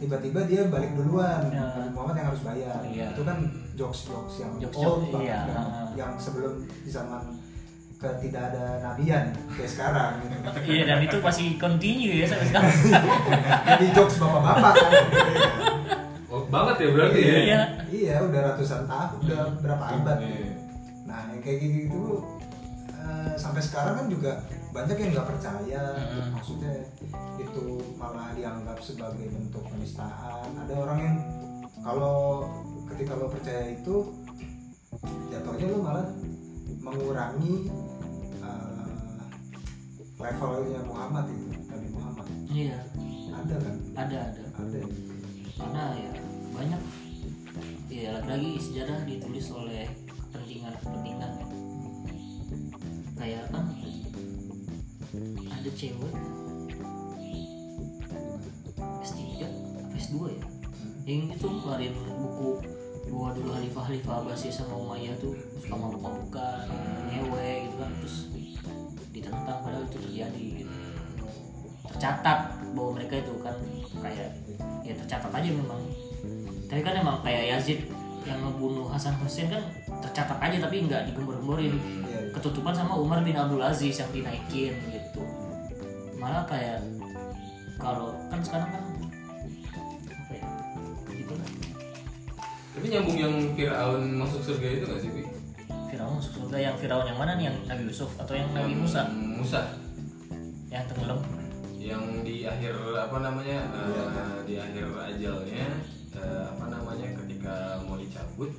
tiba-tiba dia balik duluan Ya. Nabi Muhammad yang harus bayar Iya. itu kan jokes jokes yang old Jokes-jokes, banget iya. yang, yang sebelum di zaman ke tidak ada nabian kayak sekarang gitu iya dan itu pasti continue ya sampai sekarang jadi jokes bapak-bapak kan Oh, banget ya berarti ya. iya iya udah ratusan tahun udah berapa abad Iya. Nah yang kayak gitu eh, sampai sekarang kan juga banyak yang nggak percaya, Mm. maksudnya itu malah dianggap sebagai bentuk penistaan. Ada orang yang kalau ketika lo percaya itu jatuhnya lo malah mengurangi eh, levelnya Muhammad itu Nabi Muhammad. iya Ada kan? ada ada Ada. ya? karena ya banyak ya lagi-lagi sejarah ditulis oleh kepentingan kepentingan kayak kan cewek S3 apa S2 ya yang itu ngeluarin buku dua dulu Khalifah Khalifah Abbasiyah sama Umayyah tuh suka mabuk-mabukan ngewe gitu kan terus ditentang padahal itu terjadi gitu. tercatat bahwa mereka itu kan kayak ya tercatat aja memang tapi kan emang kayak Yazid yang ngebunuh Hasan Hussein kan tercatat aja tapi nggak digembor-gemborin Iya, iya. ketutupan sama Umar bin Abdul Aziz yang dinaikin gitu malah kayak kalau kan sekarang kan apa ya gitu lah Tapi nyambung yang Fir'aun masuk surga itu gak sih, Pi? Firaun masuk surga yang Firaun yang mana nih yang Nabi Yusuf atau yang Nabi Musa Musa. yang tenggelam Yang di akhir apa namanya? eh, di akhir ajalnya eh, apa namanya? Ketika mau dicabut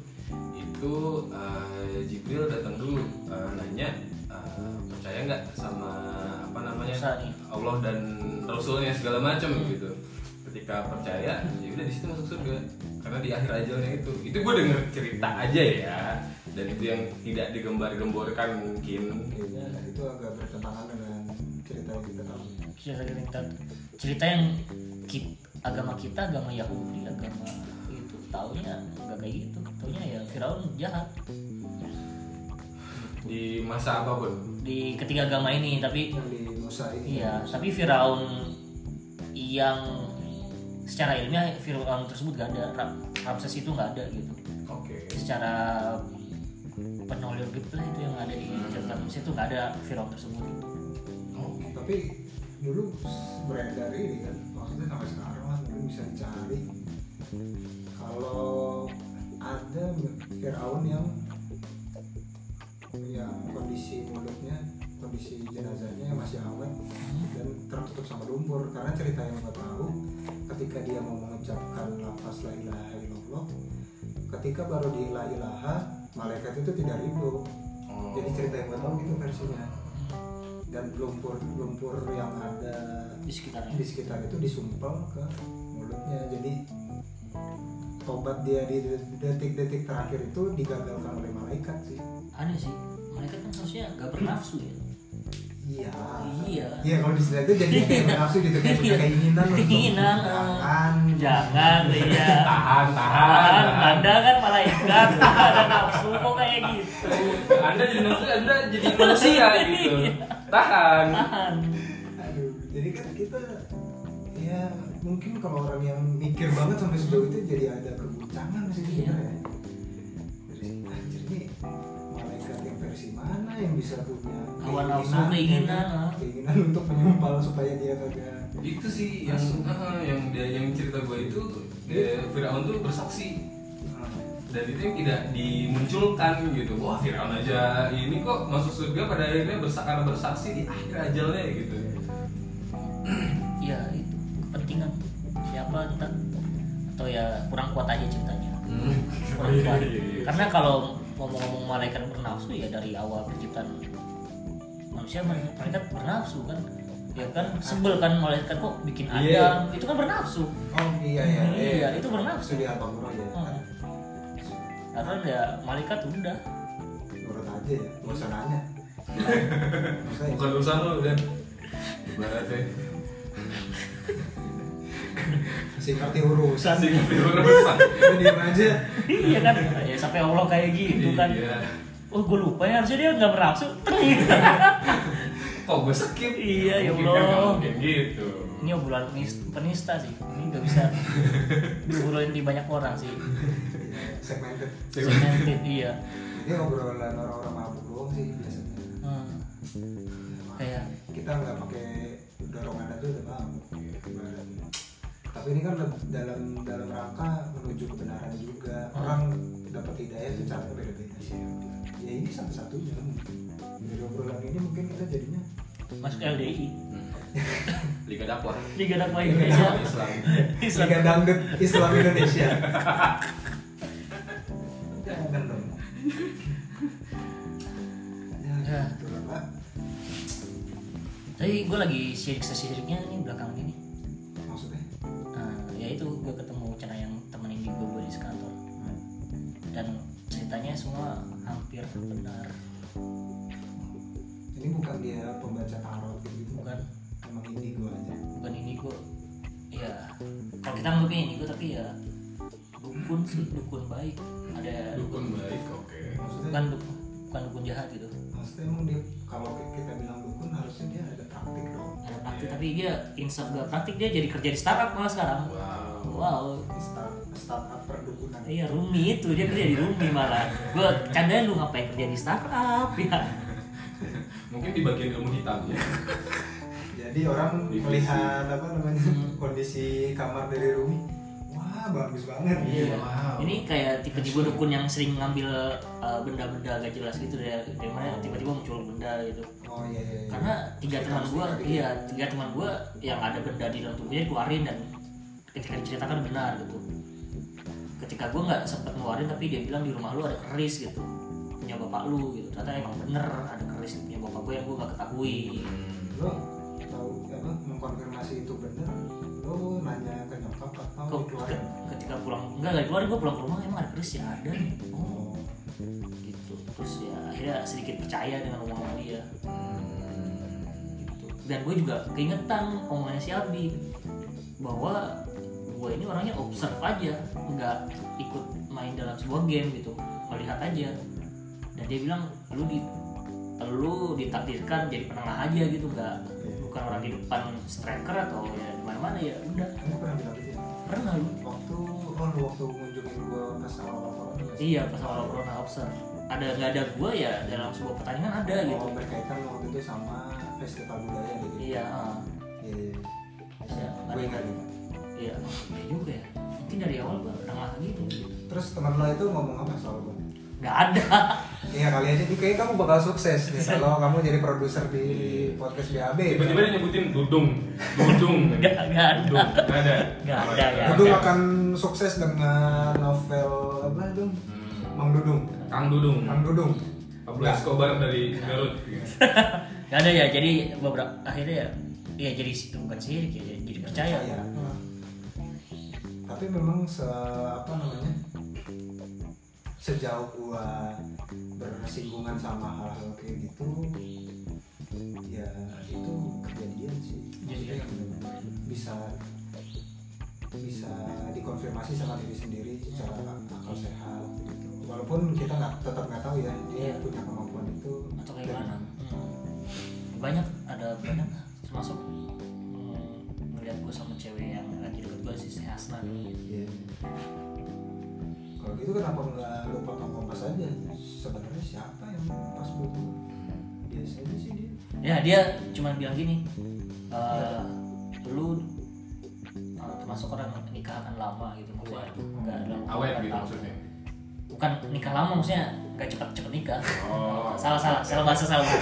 itu eh, Jibril datang dulu eh, nanya eh, percaya nggak sama apa namanya? Musa nih Allah dan Rasulnya segala macam gitu ketika percaya ya udah di situ masuk surga karena di akhir ajalnya itu itu gue denger cerita aja ya dan itu yang tidak digembar-gemborkan mungkin Nah, itu agak bertentangan dengan cerita yang kita tahu. cerita cerita cerita yang ki- agama kita agama Yahudi agama itu taunya nggak kayak gitu taunya ya Firaun jahat di masa apapun di ketiga agama ini tapi Yang di Musa ini. iya tapi Firaun yang secara ilmiah Firaun tersebut gak ada Ram- Ramses itu nggak ada gitu oke secara penulir gitu lah itu yang ada di cerita Ramses itu nggak ada Firaun tersebut gitu. oke Tapi dulu beredar ini kan, maksudnya sampai sekarang lah mungkin bisa dicari. Kalau ada Fir'aun yang yang kondisi mulutnya, kondisi jenazahnya masih awet dan tertutup sama lumpur karena cerita yang gue tahu ketika dia mau mengucapkan lafaz la ilaha illallah ketika baru di la ilaha malaikat itu tidak ridho Oh. jadi cerita yang gue tahu gitu versinya dan lumpur lumpur yang ada di sekitarnya di sekitar itu disumpel ke mulutnya jadi tobat dia di detik-detik terakhir itu digagalkan oleh malaikat sih aneh sih mereka kan harusnya nggak bernafsu ya iya Iya. iya kalau di situ jadi kayak nafsu gitu kayak punya keinginan untuk Keinginan, eh. tangan jangan ya tahan tahan, Tahan, anda kan malaikat ada nafsu kok kayak gitu anda jadi manusia anda jadi manusia gitu tahan tahan aduh jadi kan kita ya mungkin kalau orang yang mikir banget sampai sejauh itu jadi ada keguncangan sih Iya. sebenarnya Jadi, anjir ini malaikat yang versi mana yang bisa punya gitu? Hawa nafsu, keinginan, ah. keinginan untuk menyumpal supaya dia kagak itu sih yang ah, yang dia yang cerita gue itu dia- Firaun tuh bersaksi dan itu yang tidak dimunculkan gitu wah Firaun aja ini kok masuk surga pada akhirnya bersa- karena bersaksi di akhir ajalnya gitu ya itu kepentingan siapa entah atau ya kurang kuat aja ceritanya hmm. kurang kuat iya. karena kalau ngomong-ngomong malaikat bernafsu ya dari awal penciptaan manusia malaikat bernafsu kan ya kan sebel kan malaikat kok bikin adam Iya. itu kan bernafsu oh iya iya iya itu bernafsu maksudnya abang Roy ya Hmm. karena ya malaikat udah nurut aja ya nggak usah nanya Maksudnya, bukan urusan lo dan ibaratnya sih ngerti urusan kasih ngerti urusan Udah diem aja iya kan ya sampai allah kayak gitu kan Iya. oh gue lupa ya harusnya dia nggak bernafsu kok gue skip Iya, ya Mungkin kan Allah. nggak mungkin gitu ini obrolan penis- penista sih ini nggak bisa diobrolin di banyak orang sih segmented segmented iya ini obrolan orang-orang mabuk doang sih biasanya Hmm. kayak kita nggak pakai dorongan aja udah paham tapi ini kan leb- dalam dalam rangka menuju kebenaran juga orang dapat hidayah itu cara beda-beda sih ya ini satu-satunya dari obrolan ini mungkin kita jadinya masuk LDI Liga dakwah Liga Dakwa Liga Indonesia Dakwah Islam Oh, iya. Islam Liga Dangdut Islam Indonesia Jangan dong ya, Ya. gitu lah, Pak. tapi gue lagi sirik sesiriknya nih belakangan ini maksudnya Nah, ya itu gue ketemu cara yang temenin di gue di sekantor dan ceritanya semua hampir benar ini bukan dia pembaca tarot gitu bukan ya, kita anggapnya indigo tapi ya dukun sih dukun baik ada dukun baik oke maksudnya bukan dukun bukan dukun jahat gitu maksudnya emang dia kalau kita bilang dukun harusnya dia ada praktik dong ada praktik tapi dia insaf gak praktik dia jadi kerja di startup malah sekarang wow wow start startup perdukunan Iya Rumi itu dia kerja di Rumi malah. Gue canda lu ngapain kerja di startup ya? mungkin di bagian ilmu hitam ya jadi orang Divisi. melihat apa namanya Hmm. kondisi kamar dari Rumi wah bagus banget Iya. Wow. Ini kayak tipe-tipe dukun yang sering ngambil uh, benda-benda gak jelas gitu dari, dari mana tiba-tiba muncul benda gitu. oh iya iya, iya. Karena tiga teman gue, iya tiga teman gue yang ada benda di dalam tubuhnya keluarin dan ketika diceritakan benar gitu. Ketika gue nggak sempet ngeluarin tapi dia bilang di rumah lu ada keris gitu punya bapak lu gitu ternyata emang bener ada keris punya bapak gue yang gue gak ketahui Hmm. lo tahu apa mengkonfirmasi itu benar lo nanya ke nyokap atau Kok- dikeluarin ketika pulang enggak enggak keluar gue pulang ke rumah emang ada keris ya ada nih oh gitu terus ya akhirnya sedikit percaya dengan omongan dia gitu dan gue juga keingetan omongannya si Abi bahwa gue ini orangnya observe aja nggak ikut main dalam sebuah game gitu melihat aja dan dia bilang lu di lu ditakdirkan jadi penengah aja gitu nggak iya. bukan orang di depan striker atau ya di mana mana ya udah kamu pernah bilang gitu ya pernah lu waktu oh lu waktu ngunjungin gua pas awal awal Iya pas awal corona observe ada nggak ada gua ya dalam sebuah pertandingan ada gitu. oh berkaitan waktu itu sama festival budaya gitu Iya. ah. iya iya Iya. gue ingat gitu. ingat. Iya. Iya juga ya. Mungkin dari awal gua tengah gitu. terus teman lo itu ngomong apa soal lo Nggak ada. Iya kali aja tuh kayaknya kamu bakal sukses nih kalau kamu jadi produser di Iya. podcast BAB. tiba-tiba dia nyebutin dudung dudung Nggak nggak ada. dudung nggak ada Nggak ada, ya. Dudung akan sukses dengan novel apa dong? Hmm. Mang Dudung. Kang Dudung Mang Dudung. Pablo Escobar dari Garut Nggak ada ya. Jadi beberapa akhirnya ya ya jadi situ bukan sirik ya Hmm. jadi, jadi percaya. Iya. Tapi memang se apa namanya? Sejauh gua bersinggungan sama hal-hal kayak gitu, ya itu kejadian sih. Maksudnya gitu. bisa bisa dikonfirmasi sama diri sendiri Iya. secara akal sehat gitu. Walaupun kita nggak tetap nggak tahu ya dia Iya. punya kemampuan itu Atau Iya. kayak mana? Hmm. Banyak ada banyak termasuk hmm, ngeliat gua sama cewek yang lagi deket gua si si Hasna. Iya. Kalau gitu kenapa nggak lu potong kompas aja? Sebenarnya siapa yang pas butuh? Biasanya sih dia. ya dia cuman bilang gini eh lu eh, termasuk orang nikah akan lama gitu maksudnya nggak dalam awet nggak gitu tahu. maksudnya bukan nikah lama maksudnya nggak cepat cepat nikah oh salah salah salah bahasa salah bahasa.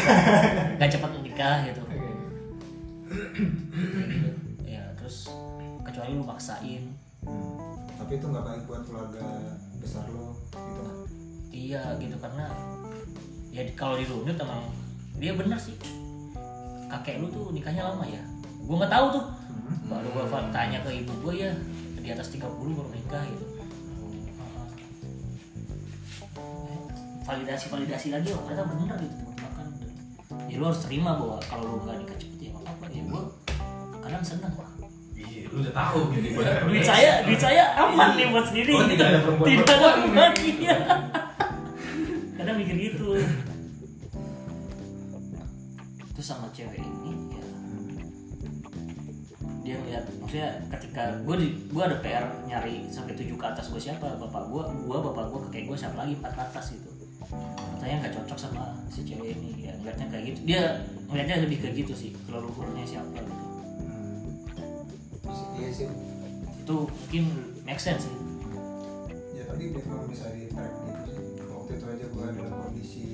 nggak cepat nikah gitu ya terus kecuali lu maksain Hmm. Tapi itu nggak baik buat keluarga besar lo gitu. iya gitu karena ya di- kalau dirunut emang dia bener sih kakek lu tuh nikahnya lama ya gua nggak tahu tuh Hmm. baru gue tanya ke ibu gue ya di atas 30 baru nikah gitu validasi validasi Eh, lagi oh ternyata bener gitu teman makan ya lu harus terima bahwa kalau lu nggak nikah cepet ya nggak apa-apa ya gue kadang seneng wah iya lu udah tahu gitu gua duit saya duit saya aman nih buat sendiri Oh, tidak ada perempuan- tidak ada perempuan. perempuan, iya. kadang mikir gitu terus sama cewek ini ya dia ngeliat maksudnya ketika gue di gue ada PR nyari sampai tujuh ke atas gue siapa bapak gue gue bapak gue kakek gue siapa lagi empat ke atas gitu katanya nggak cocok sama si cewek ini ya ngeliatnya kayak gitu dia ngeliatnya lebih kayak gitu sih kalau ukurnya siapa gitu Iya sih. itu mungkin make sense sih Ya tapi dia kalau bisa di track gitu sih. Waktu itu aja gue dalam kondisi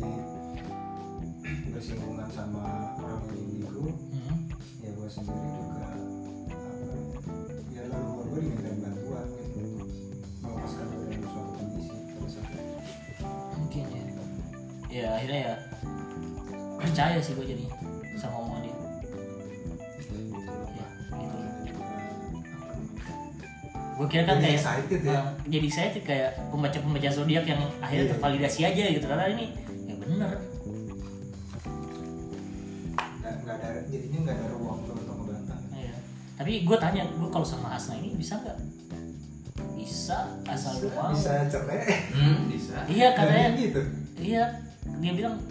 bersinggungan sama orang yang indigo Hmm. ya gue sendiri juga apa ya lalu gue gue dimintain bantuan gitu melepaskan gue dari suatu kondisi terus akhirnya mungkin ya ya akhirnya ya percaya sih gue jadi sama omongan dia gitu. ya gitu gue kira eh, kan Jadi kayak excited ya? uh, jadi excited kayak pembaca pembaca zodiak yang akhirnya Iya. tervalidasi aja gitu karena ini ya bener nggak nggak ada jadinya nggak ada ruang untuk untuk ngebantah Iya. tapi tapi gue tanya gue kalau sama Hasna ini bisa nggak bisa asal lu mau bisa cerai Hmm, bisa. Nah, iya katanya gitu iya dia bilang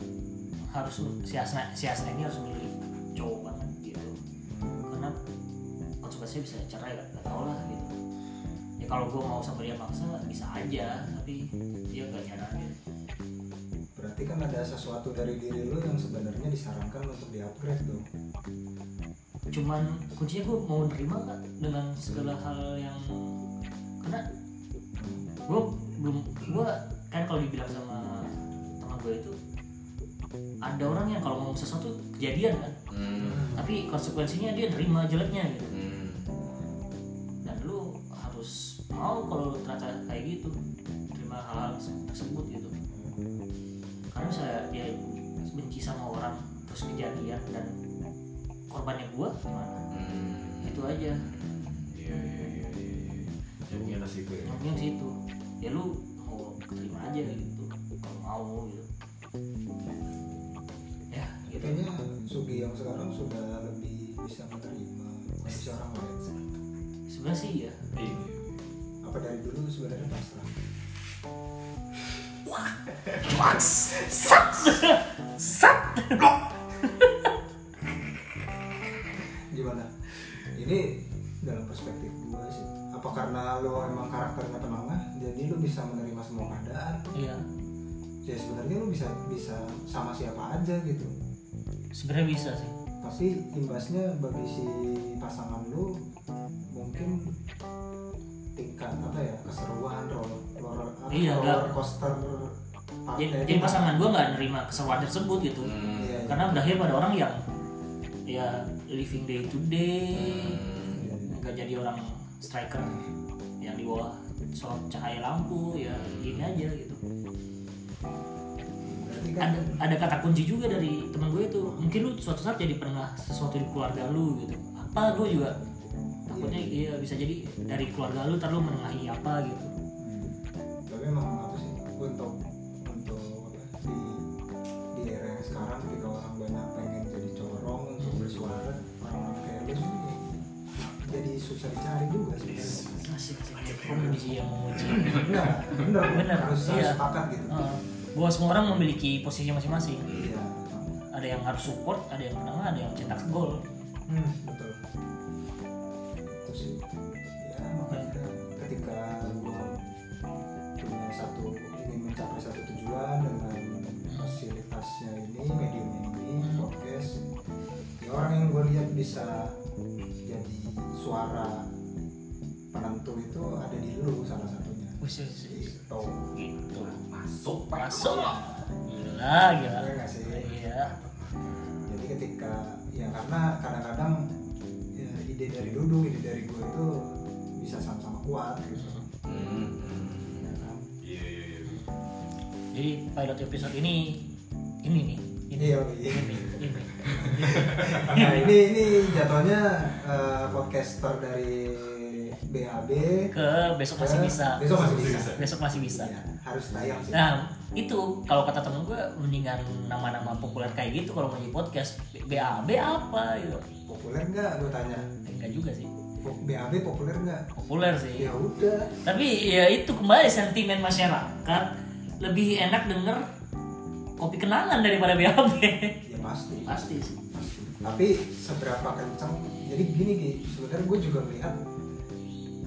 harus si Hasna si Hasna ini harus milih cowok banget gitu karena konsekuensinya bisa cerai gak, gak tau lah gitu ya kalau gue mau sama dia maksa bisa aja tapi dia gak nyaranin berarti kan ada sesuatu dari diri lu yang sebenarnya disarankan untuk di upgrade dong cuman kuncinya gue mau nerima nggak dengan segala hal yang karena gue belum gue kan kalau dibilang sama teman gue itu ada orang yang kalau ngomong sesuatu kejadian kan Hmm. tapi konsekuensinya dia nerima jeleknya gitu Hmm. dan lu harus mau kalau ternyata kayak gitu terima hal-hal tersebut gitu karena misalnya dia benci sama orang terus kejadian dan korbannya gua gimana Hmm. itu aja Iya, iya, iya, iya. iya. Ya mungkin nasib gue. yang penting situ ya lu mau terima aja gitu kalau mau gitu ya gitu kayaknya Sugi yang sekarang sudah lebih bisa menerima kondisi orang lain sih. sebenarnya sih ya Iya. apa dari dulu sebenarnya pasrah gimana ini dalam perspektif gue sih apa karena lo emang karakternya penengah jadi lo bisa menerima semua keadaan iya ya sebenarnya lo bisa bisa sama siapa aja gitu sebenarnya bisa sih tapi imbasnya bagi si pasangan lu mungkin tingkat apa ya keseruan roller roller, apa, Iya, roller enggak. coaster jadi, partnya jadi itu- Iya, kan. pasangan gua nggak nerima keseruan tersebut gitu Hmm. Iya, iya. karena berakhir pada orang yang ya living day to day Hmm. Iya, iya. nggak jadi orang striker yang di bawah sorot cahaya lampu ya gini aja gitu berarti kan ada ada kata kunci juga dari teman gue itu mungkin lu suatu saat jadi pernah sesuatu di keluarga lu gitu apa gue juga takutnya iya bisa jadi dari keluarga lu ntar lu menengahi apa gitu Hmm. tapi emang apa sih untuk untuk apa di di era yang sekarang ketika orang banyak pengen jadi corong untuk bersuara orang-orang kayak lu sih jadi susah dicari juga sih asik asik pemuji yang memuji benar benar Benar, harus harus iya. sepakat gitu Eh, bahwa semua orang memiliki posisi masing-masing iya ada yang harus support ada yang menengah ada yang cetak gol Hmm, betul. Itu sih. Ya, makanya ketika gua punya satu ingin mencapai satu tujuan dengan fasilitasnya ini, mediumnya ini, podcast. Ya orang yang gue lihat bisa jadi suara penentu itu ada di lu salah satunya. Wis, wis, wis. Gitu. gitu Masuk, masuk gila gila Iya nggak sih? iya jadi ketika ya karena kadang-kadang ya, ide dari Dudung ide dari gue itu bisa sama-sama kuat gitu Hmm. ya kan Iya, iya, iya. jadi pilot episode ini ini nih ini ya ini ini nah, ini ini jatuhnya eh, podcaster dari BAB ke besok masih ke- bisa besok masih Masih bisa, bisa. besok masih bisa Iya, harus tayang sih nah itu kalau kata temen gue mendingan nama-nama populer kayak gitu kalau mau di podcast BAB apa gitu populer nggak gue tanya Eh, enggak juga sih Po- BAB populer nggak populer sih ya udah tapi ya itu kembali sentimen masyarakat lebih enak denger kopi kenangan daripada BAB ya pasti pasti sih tapi seberapa kencang jadi gini Ki, sebenarnya gue juga melihat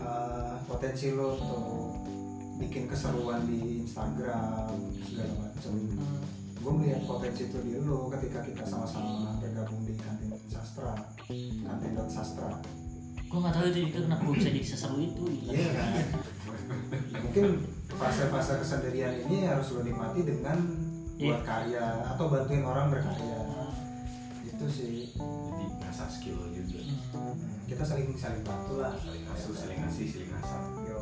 eh, potensi lo untuk bikin keseruan di Instagram segala macam Hmm. gue melihat potensi itu di lo ketika kita sama-sama bergabung di kantin sastra kantin dot sastra gue nggak tahu itu juga kenapa gue bisa jadi seseru itu gitu. gila. iya kan mungkin fase-fase kesendirian ini harus lo nikmati dengan Iya. buat karya atau bantuin orang berkarya itu sih Jadi ngasah skill gitu. juga. Hmm. kita saling saling bantu lah Saling ngasuh, saling ngasih, saling ngasah. Yo.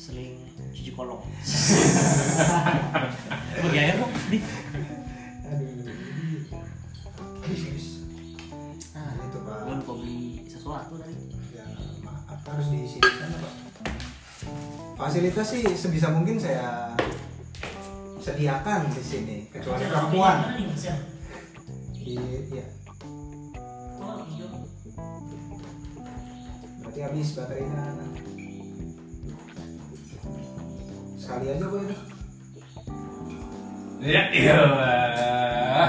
seling cuci kolong bagi air dong di Aduh. Habis, habis. nah Nah, itu Pak. gue lupa beli sesuatu tadi Ya, maaf harus diisi di sana, Pak. Fasilitas sih sebisa mungkin saya sediakan di sini kecuali perempuan. Mana nih, Mas, ya? Di ya. Gua nggak pinjam. nanti habis baterainya sekali aja gue ini Ya iyalah.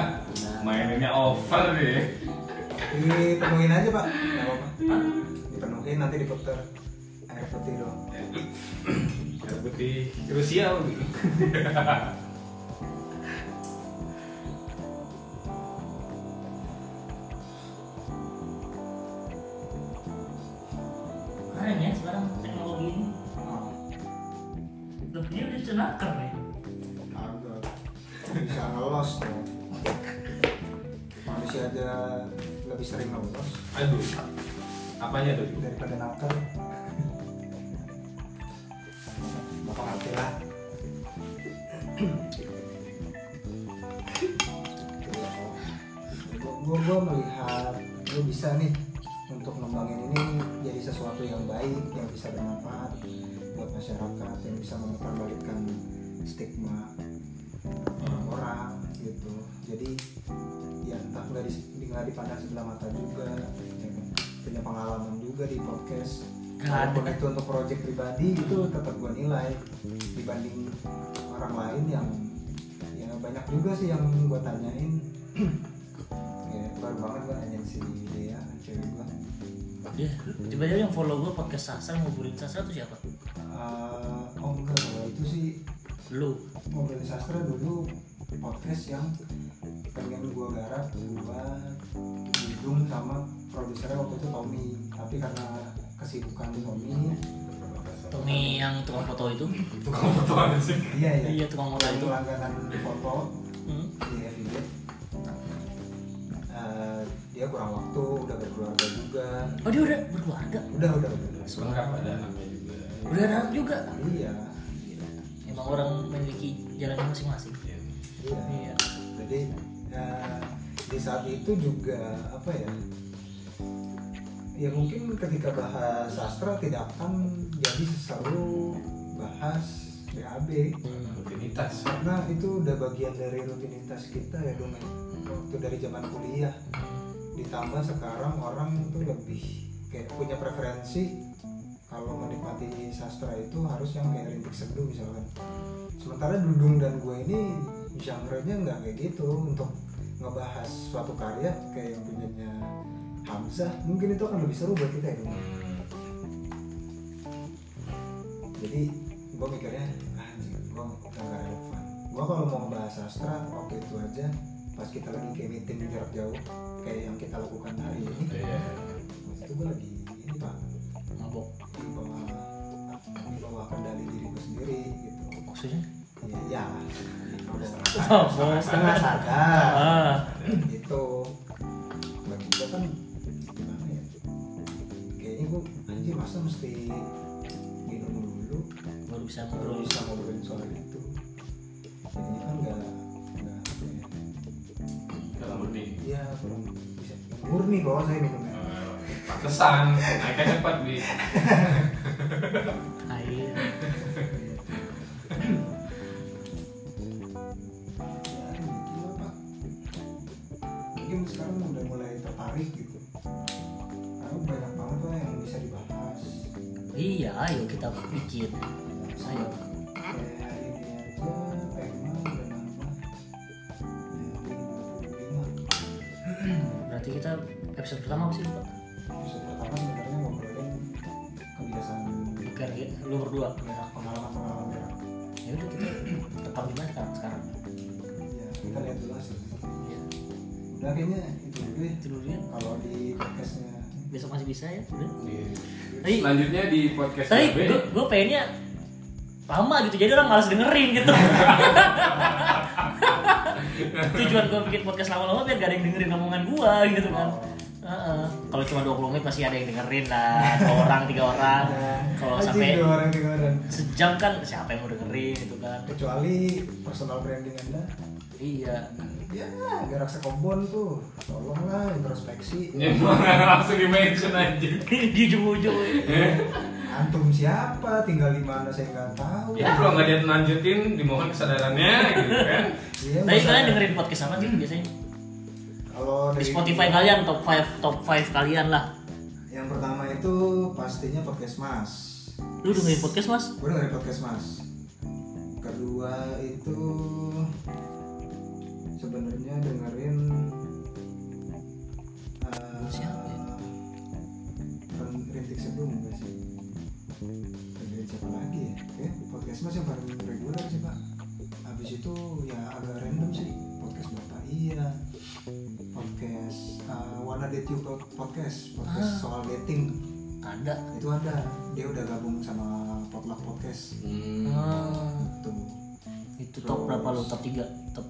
Mainannya over deh. dipenuhin aja pak nggak apa-apa dipenuhin nanti diputer air putih dong Air putih Rusia apa gitu. Keren ya sekarang teknologi ini. oh, Udah punya udah cenakar ya. kagak bisa ngelos dong manusia aja lebih sering ngelos Aduh. Apanya tuh? daripada nakal bakal hati lah gue gue melihat gue bisa nih untuk ngembangin ini jadi sesuatu yang baik yang bisa bermanfaat buat masyarakat yang bisa memperbalikkan stigma orang-orang gitu jadi ya entah nggak di, nggak dipandang sebelah mata juga ya kan. punya pengalaman juga di podcast Gak walaupun ada. itu untuk project pribadi itu tetap gue nilai dibanding orang lain yang ya banyak juga sih yang gue tanyain kayak baru banget gue nanyain si Dea cewek gue Ya, tiba-tiba yang follow gue podcast Sasa ngobrolin Sasa tuh siapa? Eh, oh enggak kalau itu sih Lu. ngobrolin sastra dulu podcast yang pengen gua garap gua didung sama produsernya waktu itu Tommy tapi karena kesibukan di Tommy Tommy yang tukang foto itu. Tukang foto ada sih. iya iya Iya tukang foto yang itu. langganan foto Hmm. di FIB Eh, dia kurang waktu udah berkeluarga juga Oh dia udah berkeluarga. udah udah udah, udah. Lengkap ada anaknya juga. Udah ada anak juga. iya Emang orang memiliki jalannya masing-masing. Iya. iya Iya. jadi eh, di saat itu juga apa ya ya mungkin ketika bahas sastra tidak akan jadi seseru bahas BAB Hmm. Rutinitas. karena itu udah bagian dari rutinitas kita ya dong ya. waktu dari zaman kuliah ditambah sekarang orang itu lebih kayak punya preferensi kalau menikmati sastra itu harus yang kayak rintik seduh misalkan sementara Dudung dan gue ini genre-nya nggak kayak gitu untuk ngebahas suatu karya kayak yang punyanya Hamzah mungkin itu akan lebih seru buat kita ya Dong. jadi gue mikirnya "Ah, anjing gue nggak relevan gue kalau mau bahas sastra waktu itu aja pas kita lagi kayak meeting jarak jauh kayak yang kita lakukan hari ini Iya. waktu itu gue lagi ini pak Mabok. di bawah di bawah kendali diriku sendiri gitu Maksudnya? ya, ya. Mabok. setengah sadar Ah. itu bagi gue kan gimana ya kayaknya gue anjir masa mesti minum dulu Baru bisa baru ngobrol. bisa ngobrolin soal itu jadinya kan nggak nggak apa ya. Dalam berdi. iya belum bisa murni kalau saya minumnya Kesan. Eh, Naiknya cepat bi. Air. Ya, gila, Pak. mungkin sekarang udah mulai tertarik gitu karena banyak banget lah yang bisa dibahas Iya, ayo kita bikin. Ayo. kayak ini aja tema udah nambah ya, 25. Berarti kita episode pertama apa sih Pak? episode pertama sebenarnya ngobrolin kebiasaan Bukan ya, lu berdua. berak pengalaman-pengalaman berak Ya udah kita tetap di mana sekarang sekarang. ya kita lihat dulu sih Ya, udah kayaknya itu dulu ya itu dulu ya. kalau di podcastnya Besok masih bisa ya. Udah. Tapi Selanjutnya di podcast tapi KB. gue gue pengennya lama gitu jadi orang malas dengerin gitu tujuan gue bikin podcast lama-lama biar gak ada yang dengerin omongan gue gitu kan Heeh. kalau cuma 20 menit masih ada yang dengerin lah dua orang tiga orang kalau Anjing, sampai dua orang tiga orang sejam kan siapa yang mau dengerin gitu kan kecuali personal branding anda iya ya gerak sekebon tuh tolonglah introspeksi Ya, langsung di mention aja. di ujung-ujung antum siapa tinggal di mana saya nggak tahu Ya kalau nggak dia lanjutin dimohon kesadarannya gitu kan. Iya, tapi masa- kalian dengerin podcast apa sih biasanya kalau di dari Spotify kalian top 5 top 5 kalian lah yang pertama itu pastinya podcast Mas. Lu dengerin podcast mas? Gue dengerin podcast Mas. Kedua itu sebenarnya dengerin eh, Siapa ya? Ren- Rintik Sebelum enggak sih? Dengerin siapa lagi ya? Eh, podcast Mas yang paling reguler sih Pak. Habis itu ya agak random sih podcast Bapak iya podcast eh, Wanna Date You Pod- podcast podcast Ah. soal dating Ada. itu ada dia udah gabung sama potluck podcast Hmm. Ah, itu itu top berapa lu? Top 3? Top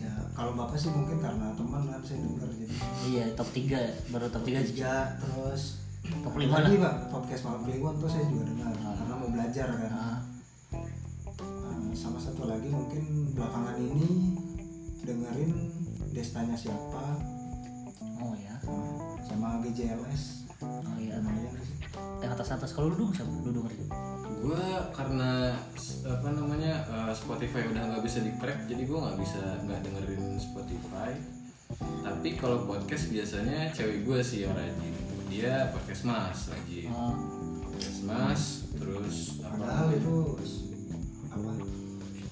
ya kalau bapak sih mungkin karena teman kan saya dengar jadi Iya, top 3 baru top 3 aja. tiga terus Top ada lima lagi pak podcast malam kliwon tuh saya juga dengar karena mau belajar kan Ah, Eh, sama satu lagi mungkin belakangan ini dengerin destanya siapa oh ya. eh, sama GJLS Oh ya. lumayan sih Yang atas-atas kalau lu dong siapa? Lu dengerin. Gue karena s- apa namanya eh, Spotify udah nggak bisa di track, jadi gue nggak bisa nggak dengerin Spotify. Tapi kalau podcast biasanya cewek gue sih yang rajin. Dia podcast mas rajin. Ah, Podcast mas, terus apa? padahal itu apa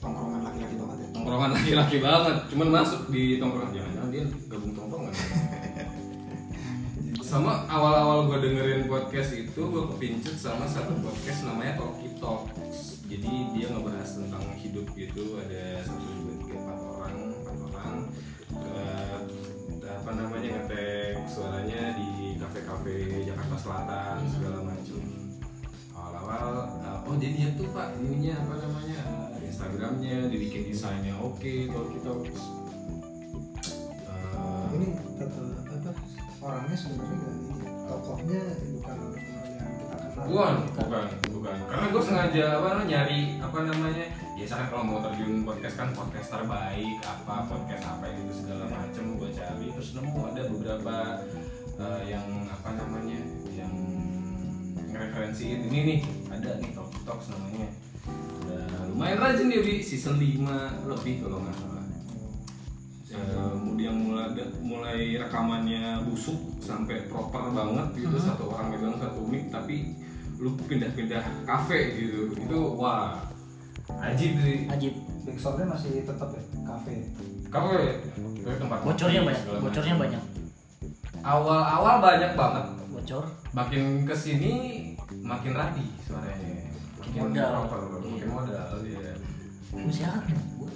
tongkrongan laki-laki banget ya Tongkrongan laki-laki banget, cuman masuk di tongkrongan jangan-jangan dia gabung tongkrongan. sama awal-awal gue dengerin podcast itu gue kepincut sama satu podcast namanya Talkie Talks jadi dia ngebahas tentang hidup gitu ada satu dua tiga empat orang empat orang Eh, apa namanya ngetek suaranya di kafe-kafe Jakarta Selatan segala macam awal-awal eh, oh jadi ya tuh pak ininya apa namanya eh, Instagramnya dibikin desainnya oke Talkie Talks Eh, ini tetap apa orangnya sebenarnya nggak ini tokohnya bukan orang yang kita kenal Bukan, bukan, bukan. Karena gue sengaja apa namanya, nyari apa namanya. Biasa kan kalau mau terjun podcast kan podcast terbaik apa podcast apa gitu segala macem gue cari terus nemu ada beberapa eh, yang apa namanya yang ngereferensiin ini nih ada nih Talk Talks namanya. Udah lumayan rajin dia di season 5 lebih kalau nggak salah. Eh, kemudian mulai mulai rekamannya busuk sampai proper banget gitu satu orang megang satu mic tapi lu pindah-pindah kafe gitu itu wah ajib sih Ajib. backsoundnya masih tetap ya kafe kafe kafe tempat Bocornya kopi, banyak. segala Bocornya macam. banyak. awal-awal banyak banget Bocor. makin kesini makin rapi suaranya makin Modal. Iya. proper makin modal ya Lu siapa? Gua.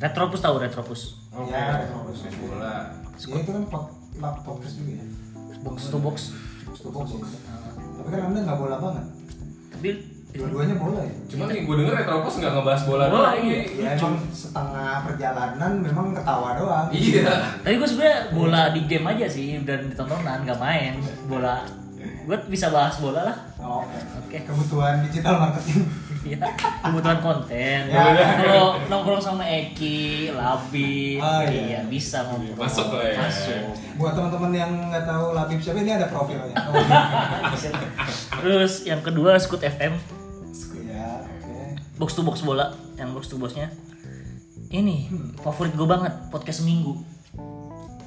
Retropus tahu Retropus. oke Ya, bagus. main bola ya itu kan pod, lab podcast juga ya Box to box. Stupok sih tapi kan anda nggak bola banget Tapi dua-duanya bola ya cuman nih gue denger Retropos nggak ngebahas bola Bola, doang iya. Gi. ya emang setengah perjalanan memang ketawa doang iya Tapi gue sebenernya bola di game aja sih dan di tontonan gak main bola. Gue bisa bahas bola lah. oh, oke Oke. kebutuhan digital marketing Iya. Kebutuhan konten. Ya. Kalau nongkrong sama Eki, Labib, Oh, iya. iya. bisa ngobrol. Masuk lah ya. Masuk. buat teman-teman yang nggak tahu labib siapa ini ada profilnya oh, Terus yang kedua Scoot FM, ya oke box to box bola, yang box to boxnya. Ini favorit gue banget podcast seminggu.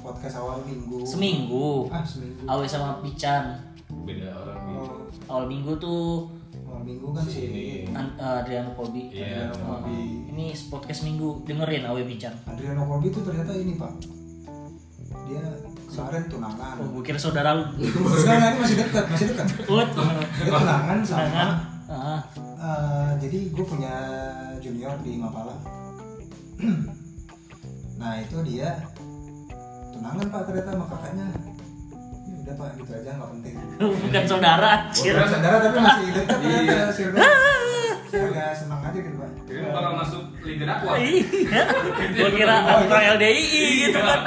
podcast awal minggu Seminggu. ah seminggu Awe sama Pican. beda orang gitu Oh, Awal minggu tuh awal minggu kan sih Sini. An- eh, Adriano Kobi. Iya. Oh, ini podcast minggu dengerin Awe Bincang. Adriano Colby itu ternyata ini pak dia kemarin tunangan Oh, gue kira saudara lu. sekarang ini masih dekat masih dekat Ut. dia tunangan sama Tangan. Ah, eh, jadi gue punya junior di Mapala nah itu dia tunangan pak ternyata sama kakaknya ya udah pak gitu aja nggak penting bukan saudara. Anjir. Bukan saudara tapi masih dekat Iya. ternyata sih udah Saya agak senang aja gitu pak Kira bakal masuk ah. Liga Dakwah. Iya. Gue kira orang LDII gitu kan.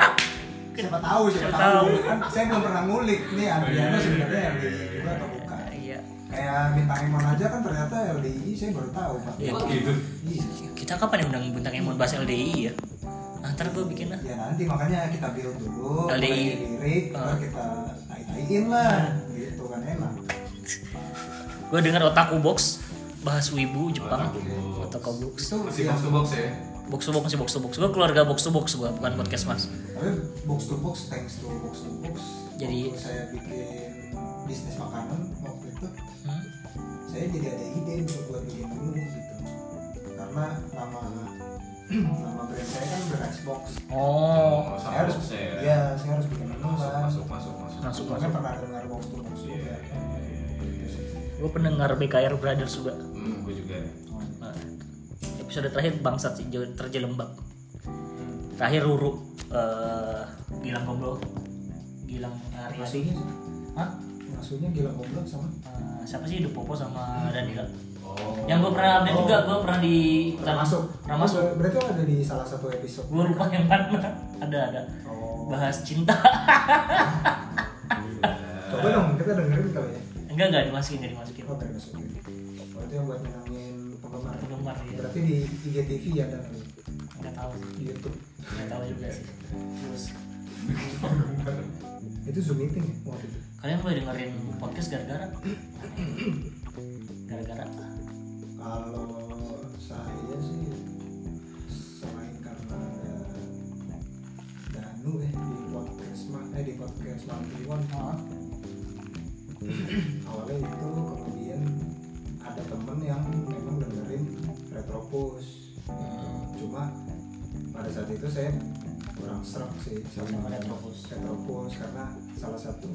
siapa tahu siapa Siapa tahu tahu. kan saya belum pernah ngulik nih Adriana sebenarnya LDI juga atau bukan Iya. kayak bintang Emon aja kan ternyata LDI saya baru tahu pak Iya. Kok gitu? Iya. Kita kapan ya undang bintang Emon bahas LDI ya? Ah, ntar gue bikin lah. ya nanti makanya kita build dulu LDI. mulai lirik Ah. baru Nah. kita tai-taiin lah gitu kan enak Gue denger Otaku Box bahas Wibu Jepang. Otaku Otaku Box. Box. itu Masih yang- box to box ya. Box to box sih box to box. Gue keluarga box to box gue Hmm. bukan podcast mas. tapi box to box thanks to box to box Jadi- waktu saya bikin Hmm? gitu. karena nama nama brand saya kan brand Xbox. oh sama saya harus, kan? boxnya ya. ya. saya harus bikin menu masuk, lah. masuk masuk masuk Masuk. Sebelumnya pernah dengar box to box Iya, juga. iya, iya, iya, iya, iya. gue pendengar BKR Brothers juga hmm gue juga Nah, episode terakhir bangsat sih jauh- terjelembab terakhir ruru eh Gilang Goblok Gilang Aryadi Maksudnya, Hah? maksudnya gila goblok sama. Eh, siapa sih Dupopo sama Danila oh yang gue pernah update Oh. juga gue pernah di Pernah masuk. pernah masuk Ber- Berarti ada di salah satu episode. gue lupa yang mana ada ada Oh. bahas cinta Coba dong kita dengerin kali ya. enggak enggak dimasukin nggak dimasukin Oh, dari masuk ini. Berarti yang buat menangin penggemar. penggemar ya Berarti di IGTV ya dan nggak tahu di YouTube. nggak tahu juga sih terus Itu Zoom meeting ya waktu itu. kalian boleh dengerin podcast gara-gara gara-gara Kalau saya sih selain karena ada Danu eh di podcast ma- eh di podcast Manti One Hah? awalnya itu kemudian ada temen yang memang dengerin Retropus Hmm. cuma pada saat itu saya kurang serak sih Sama sama Retropus. Retropus karena salah satu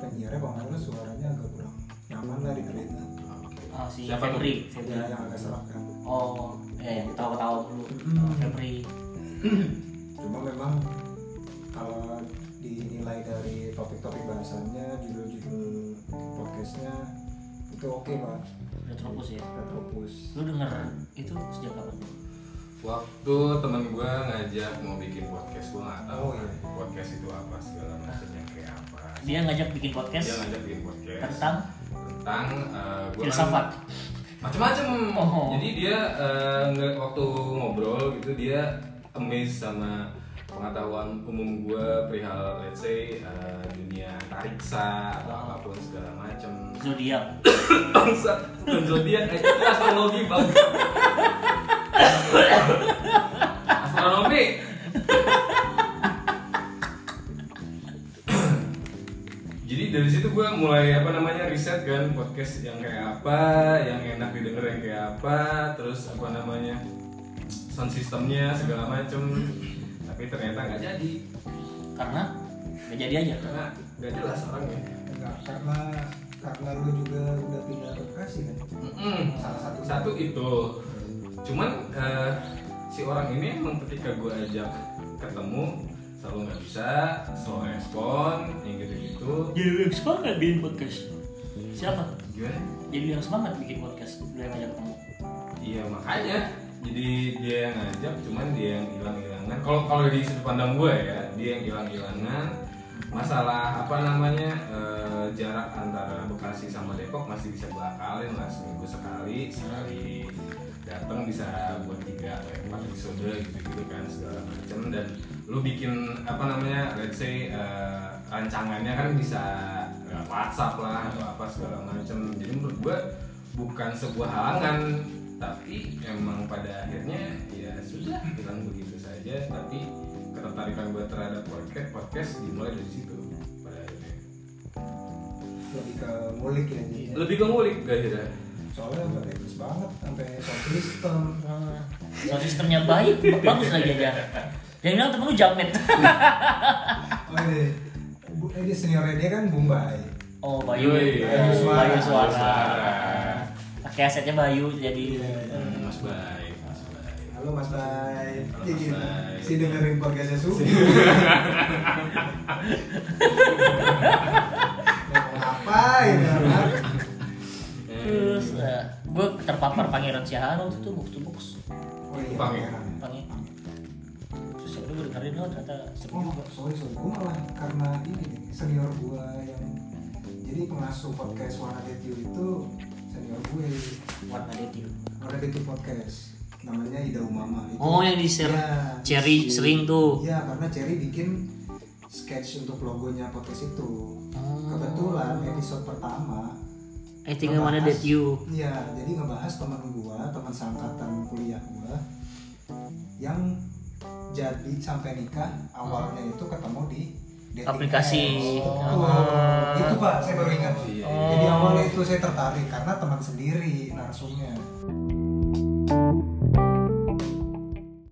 penyiarnya kalau nggak salah suaranya agak kurang nyaman lah di telinga Ah, si Siapa tuh? ya Febri Febri yang agak serak kan oh ya yang ketawa-ketawa dulu Mm-mm. Febri cuma memang kalau dinilai dari topik-topik bahasannya judul-judul podcastnya itu oke pak Retropus ya Retropus lu denger itu sejak kapan waktu temen gue ngajak mau bikin podcast gue nggak tahu Oh, iya. podcast itu apa segala macam yang kayak apa dia ngajak bikin dia podcast ngajak bikin podcast tentang tentang eh, Iya, gua kan- filsafat macam-macam Oh. jadi dia eh, nge- waktu ngobrol gitu dia amazed sama pengetahuan umum gue perihal let's say eh, dunia antariksa atau Wow. apapun segala macem zodiak bangsa bukan zodiak eh, itu astrologi bang astronomi jadi dari situ gue mulai apa namanya riset kan podcast yang kayak apa yang enak didengar yang kayak apa terus apa namanya sound systemnya segala macem tapi ternyata nggak jadi karena nggak jadi aja karena nggak jelas orangnya enggak karena karena lu juga udah pindah ke Bekasi kan Mm-mm. salah satu kan? satu itu cuman eh, si orang ini emang ketika gue ajak ketemu selalu nggak bisa slow respon yang gitu gitu jadi lu yang semangat bikin podcast siapa gimana jadi lu yang semangat bikin podcast lu yang ngajak ketemu iya makanya jadi dia yang ngajak cuman dia yang hilang hilangan kalau kalau di sudut pandang gue ya dia yang hilang hilangan masalah apa namanya eh, jarak antara Bekasi sama Depok masih bisa gue akalin lah seminggu sekali sekali datang bisa buat tiga atau empat episode gitu gitu kan segala macam dan lu bikin apa namanya let's say eh, rancangannya kan bisa eh, WhatsApp lah atau apa segala macam jadi menurut gue bukan sebuah halangan tapi emang pada akhirnya ya sudah bilang begitu saja tapi ketertarikan gue terhadap podcast podcast dimulai dari situ pada akhirnya lebih ke mulik ya jadinya. lebih ke ngulik gak kira soalnya udah bagus banget sampai sound system sound sistemnya baik bagus lagi aja yang bilang temen lu jamet oh iya Bu, eh, dia seniornya dia kan Bombay oh Bayu Yoi, Oh, Bayu Bayu Suara. suara pakai asetnya Bayu jadi Hmm, mas baik mas baik halo Mas Bay Halo, Mas Iya, gitu. Bay. si dengerin podcastnya su Ngomong apa ya kan? terus gue terpapar Pangeran Siahaan waktu itu box to box oh iya Pange. Pange. terus ya udah gue dengerin lo ternyata seru Oh, juga sorry, sorry. Gue malah karena ini nih, senior gue yang jadi pengasuh podcast Warna Detiu itu senior gue warna dating Warna Detiu podcast namanya Ida Umama itu. oh yang di share Iya, Cherry si- sering tuh Iya, karena Cherry bikin sketch untuk logonya podcast itu. Hmm. Kebetulan episode pertama I think I wanna ngebahas- date you Iya, jadi ngebahas teman gua, teman seangkatan kuliah gua yang jadi sampai nikah awalnya itu ketemu di dating Aplikasi. apps. Betul. Ah. Itu Pak, saya baru ingat. Iya. Jadi awalnya itu saya tertarik karena teman sendiri narsumnya. Oke,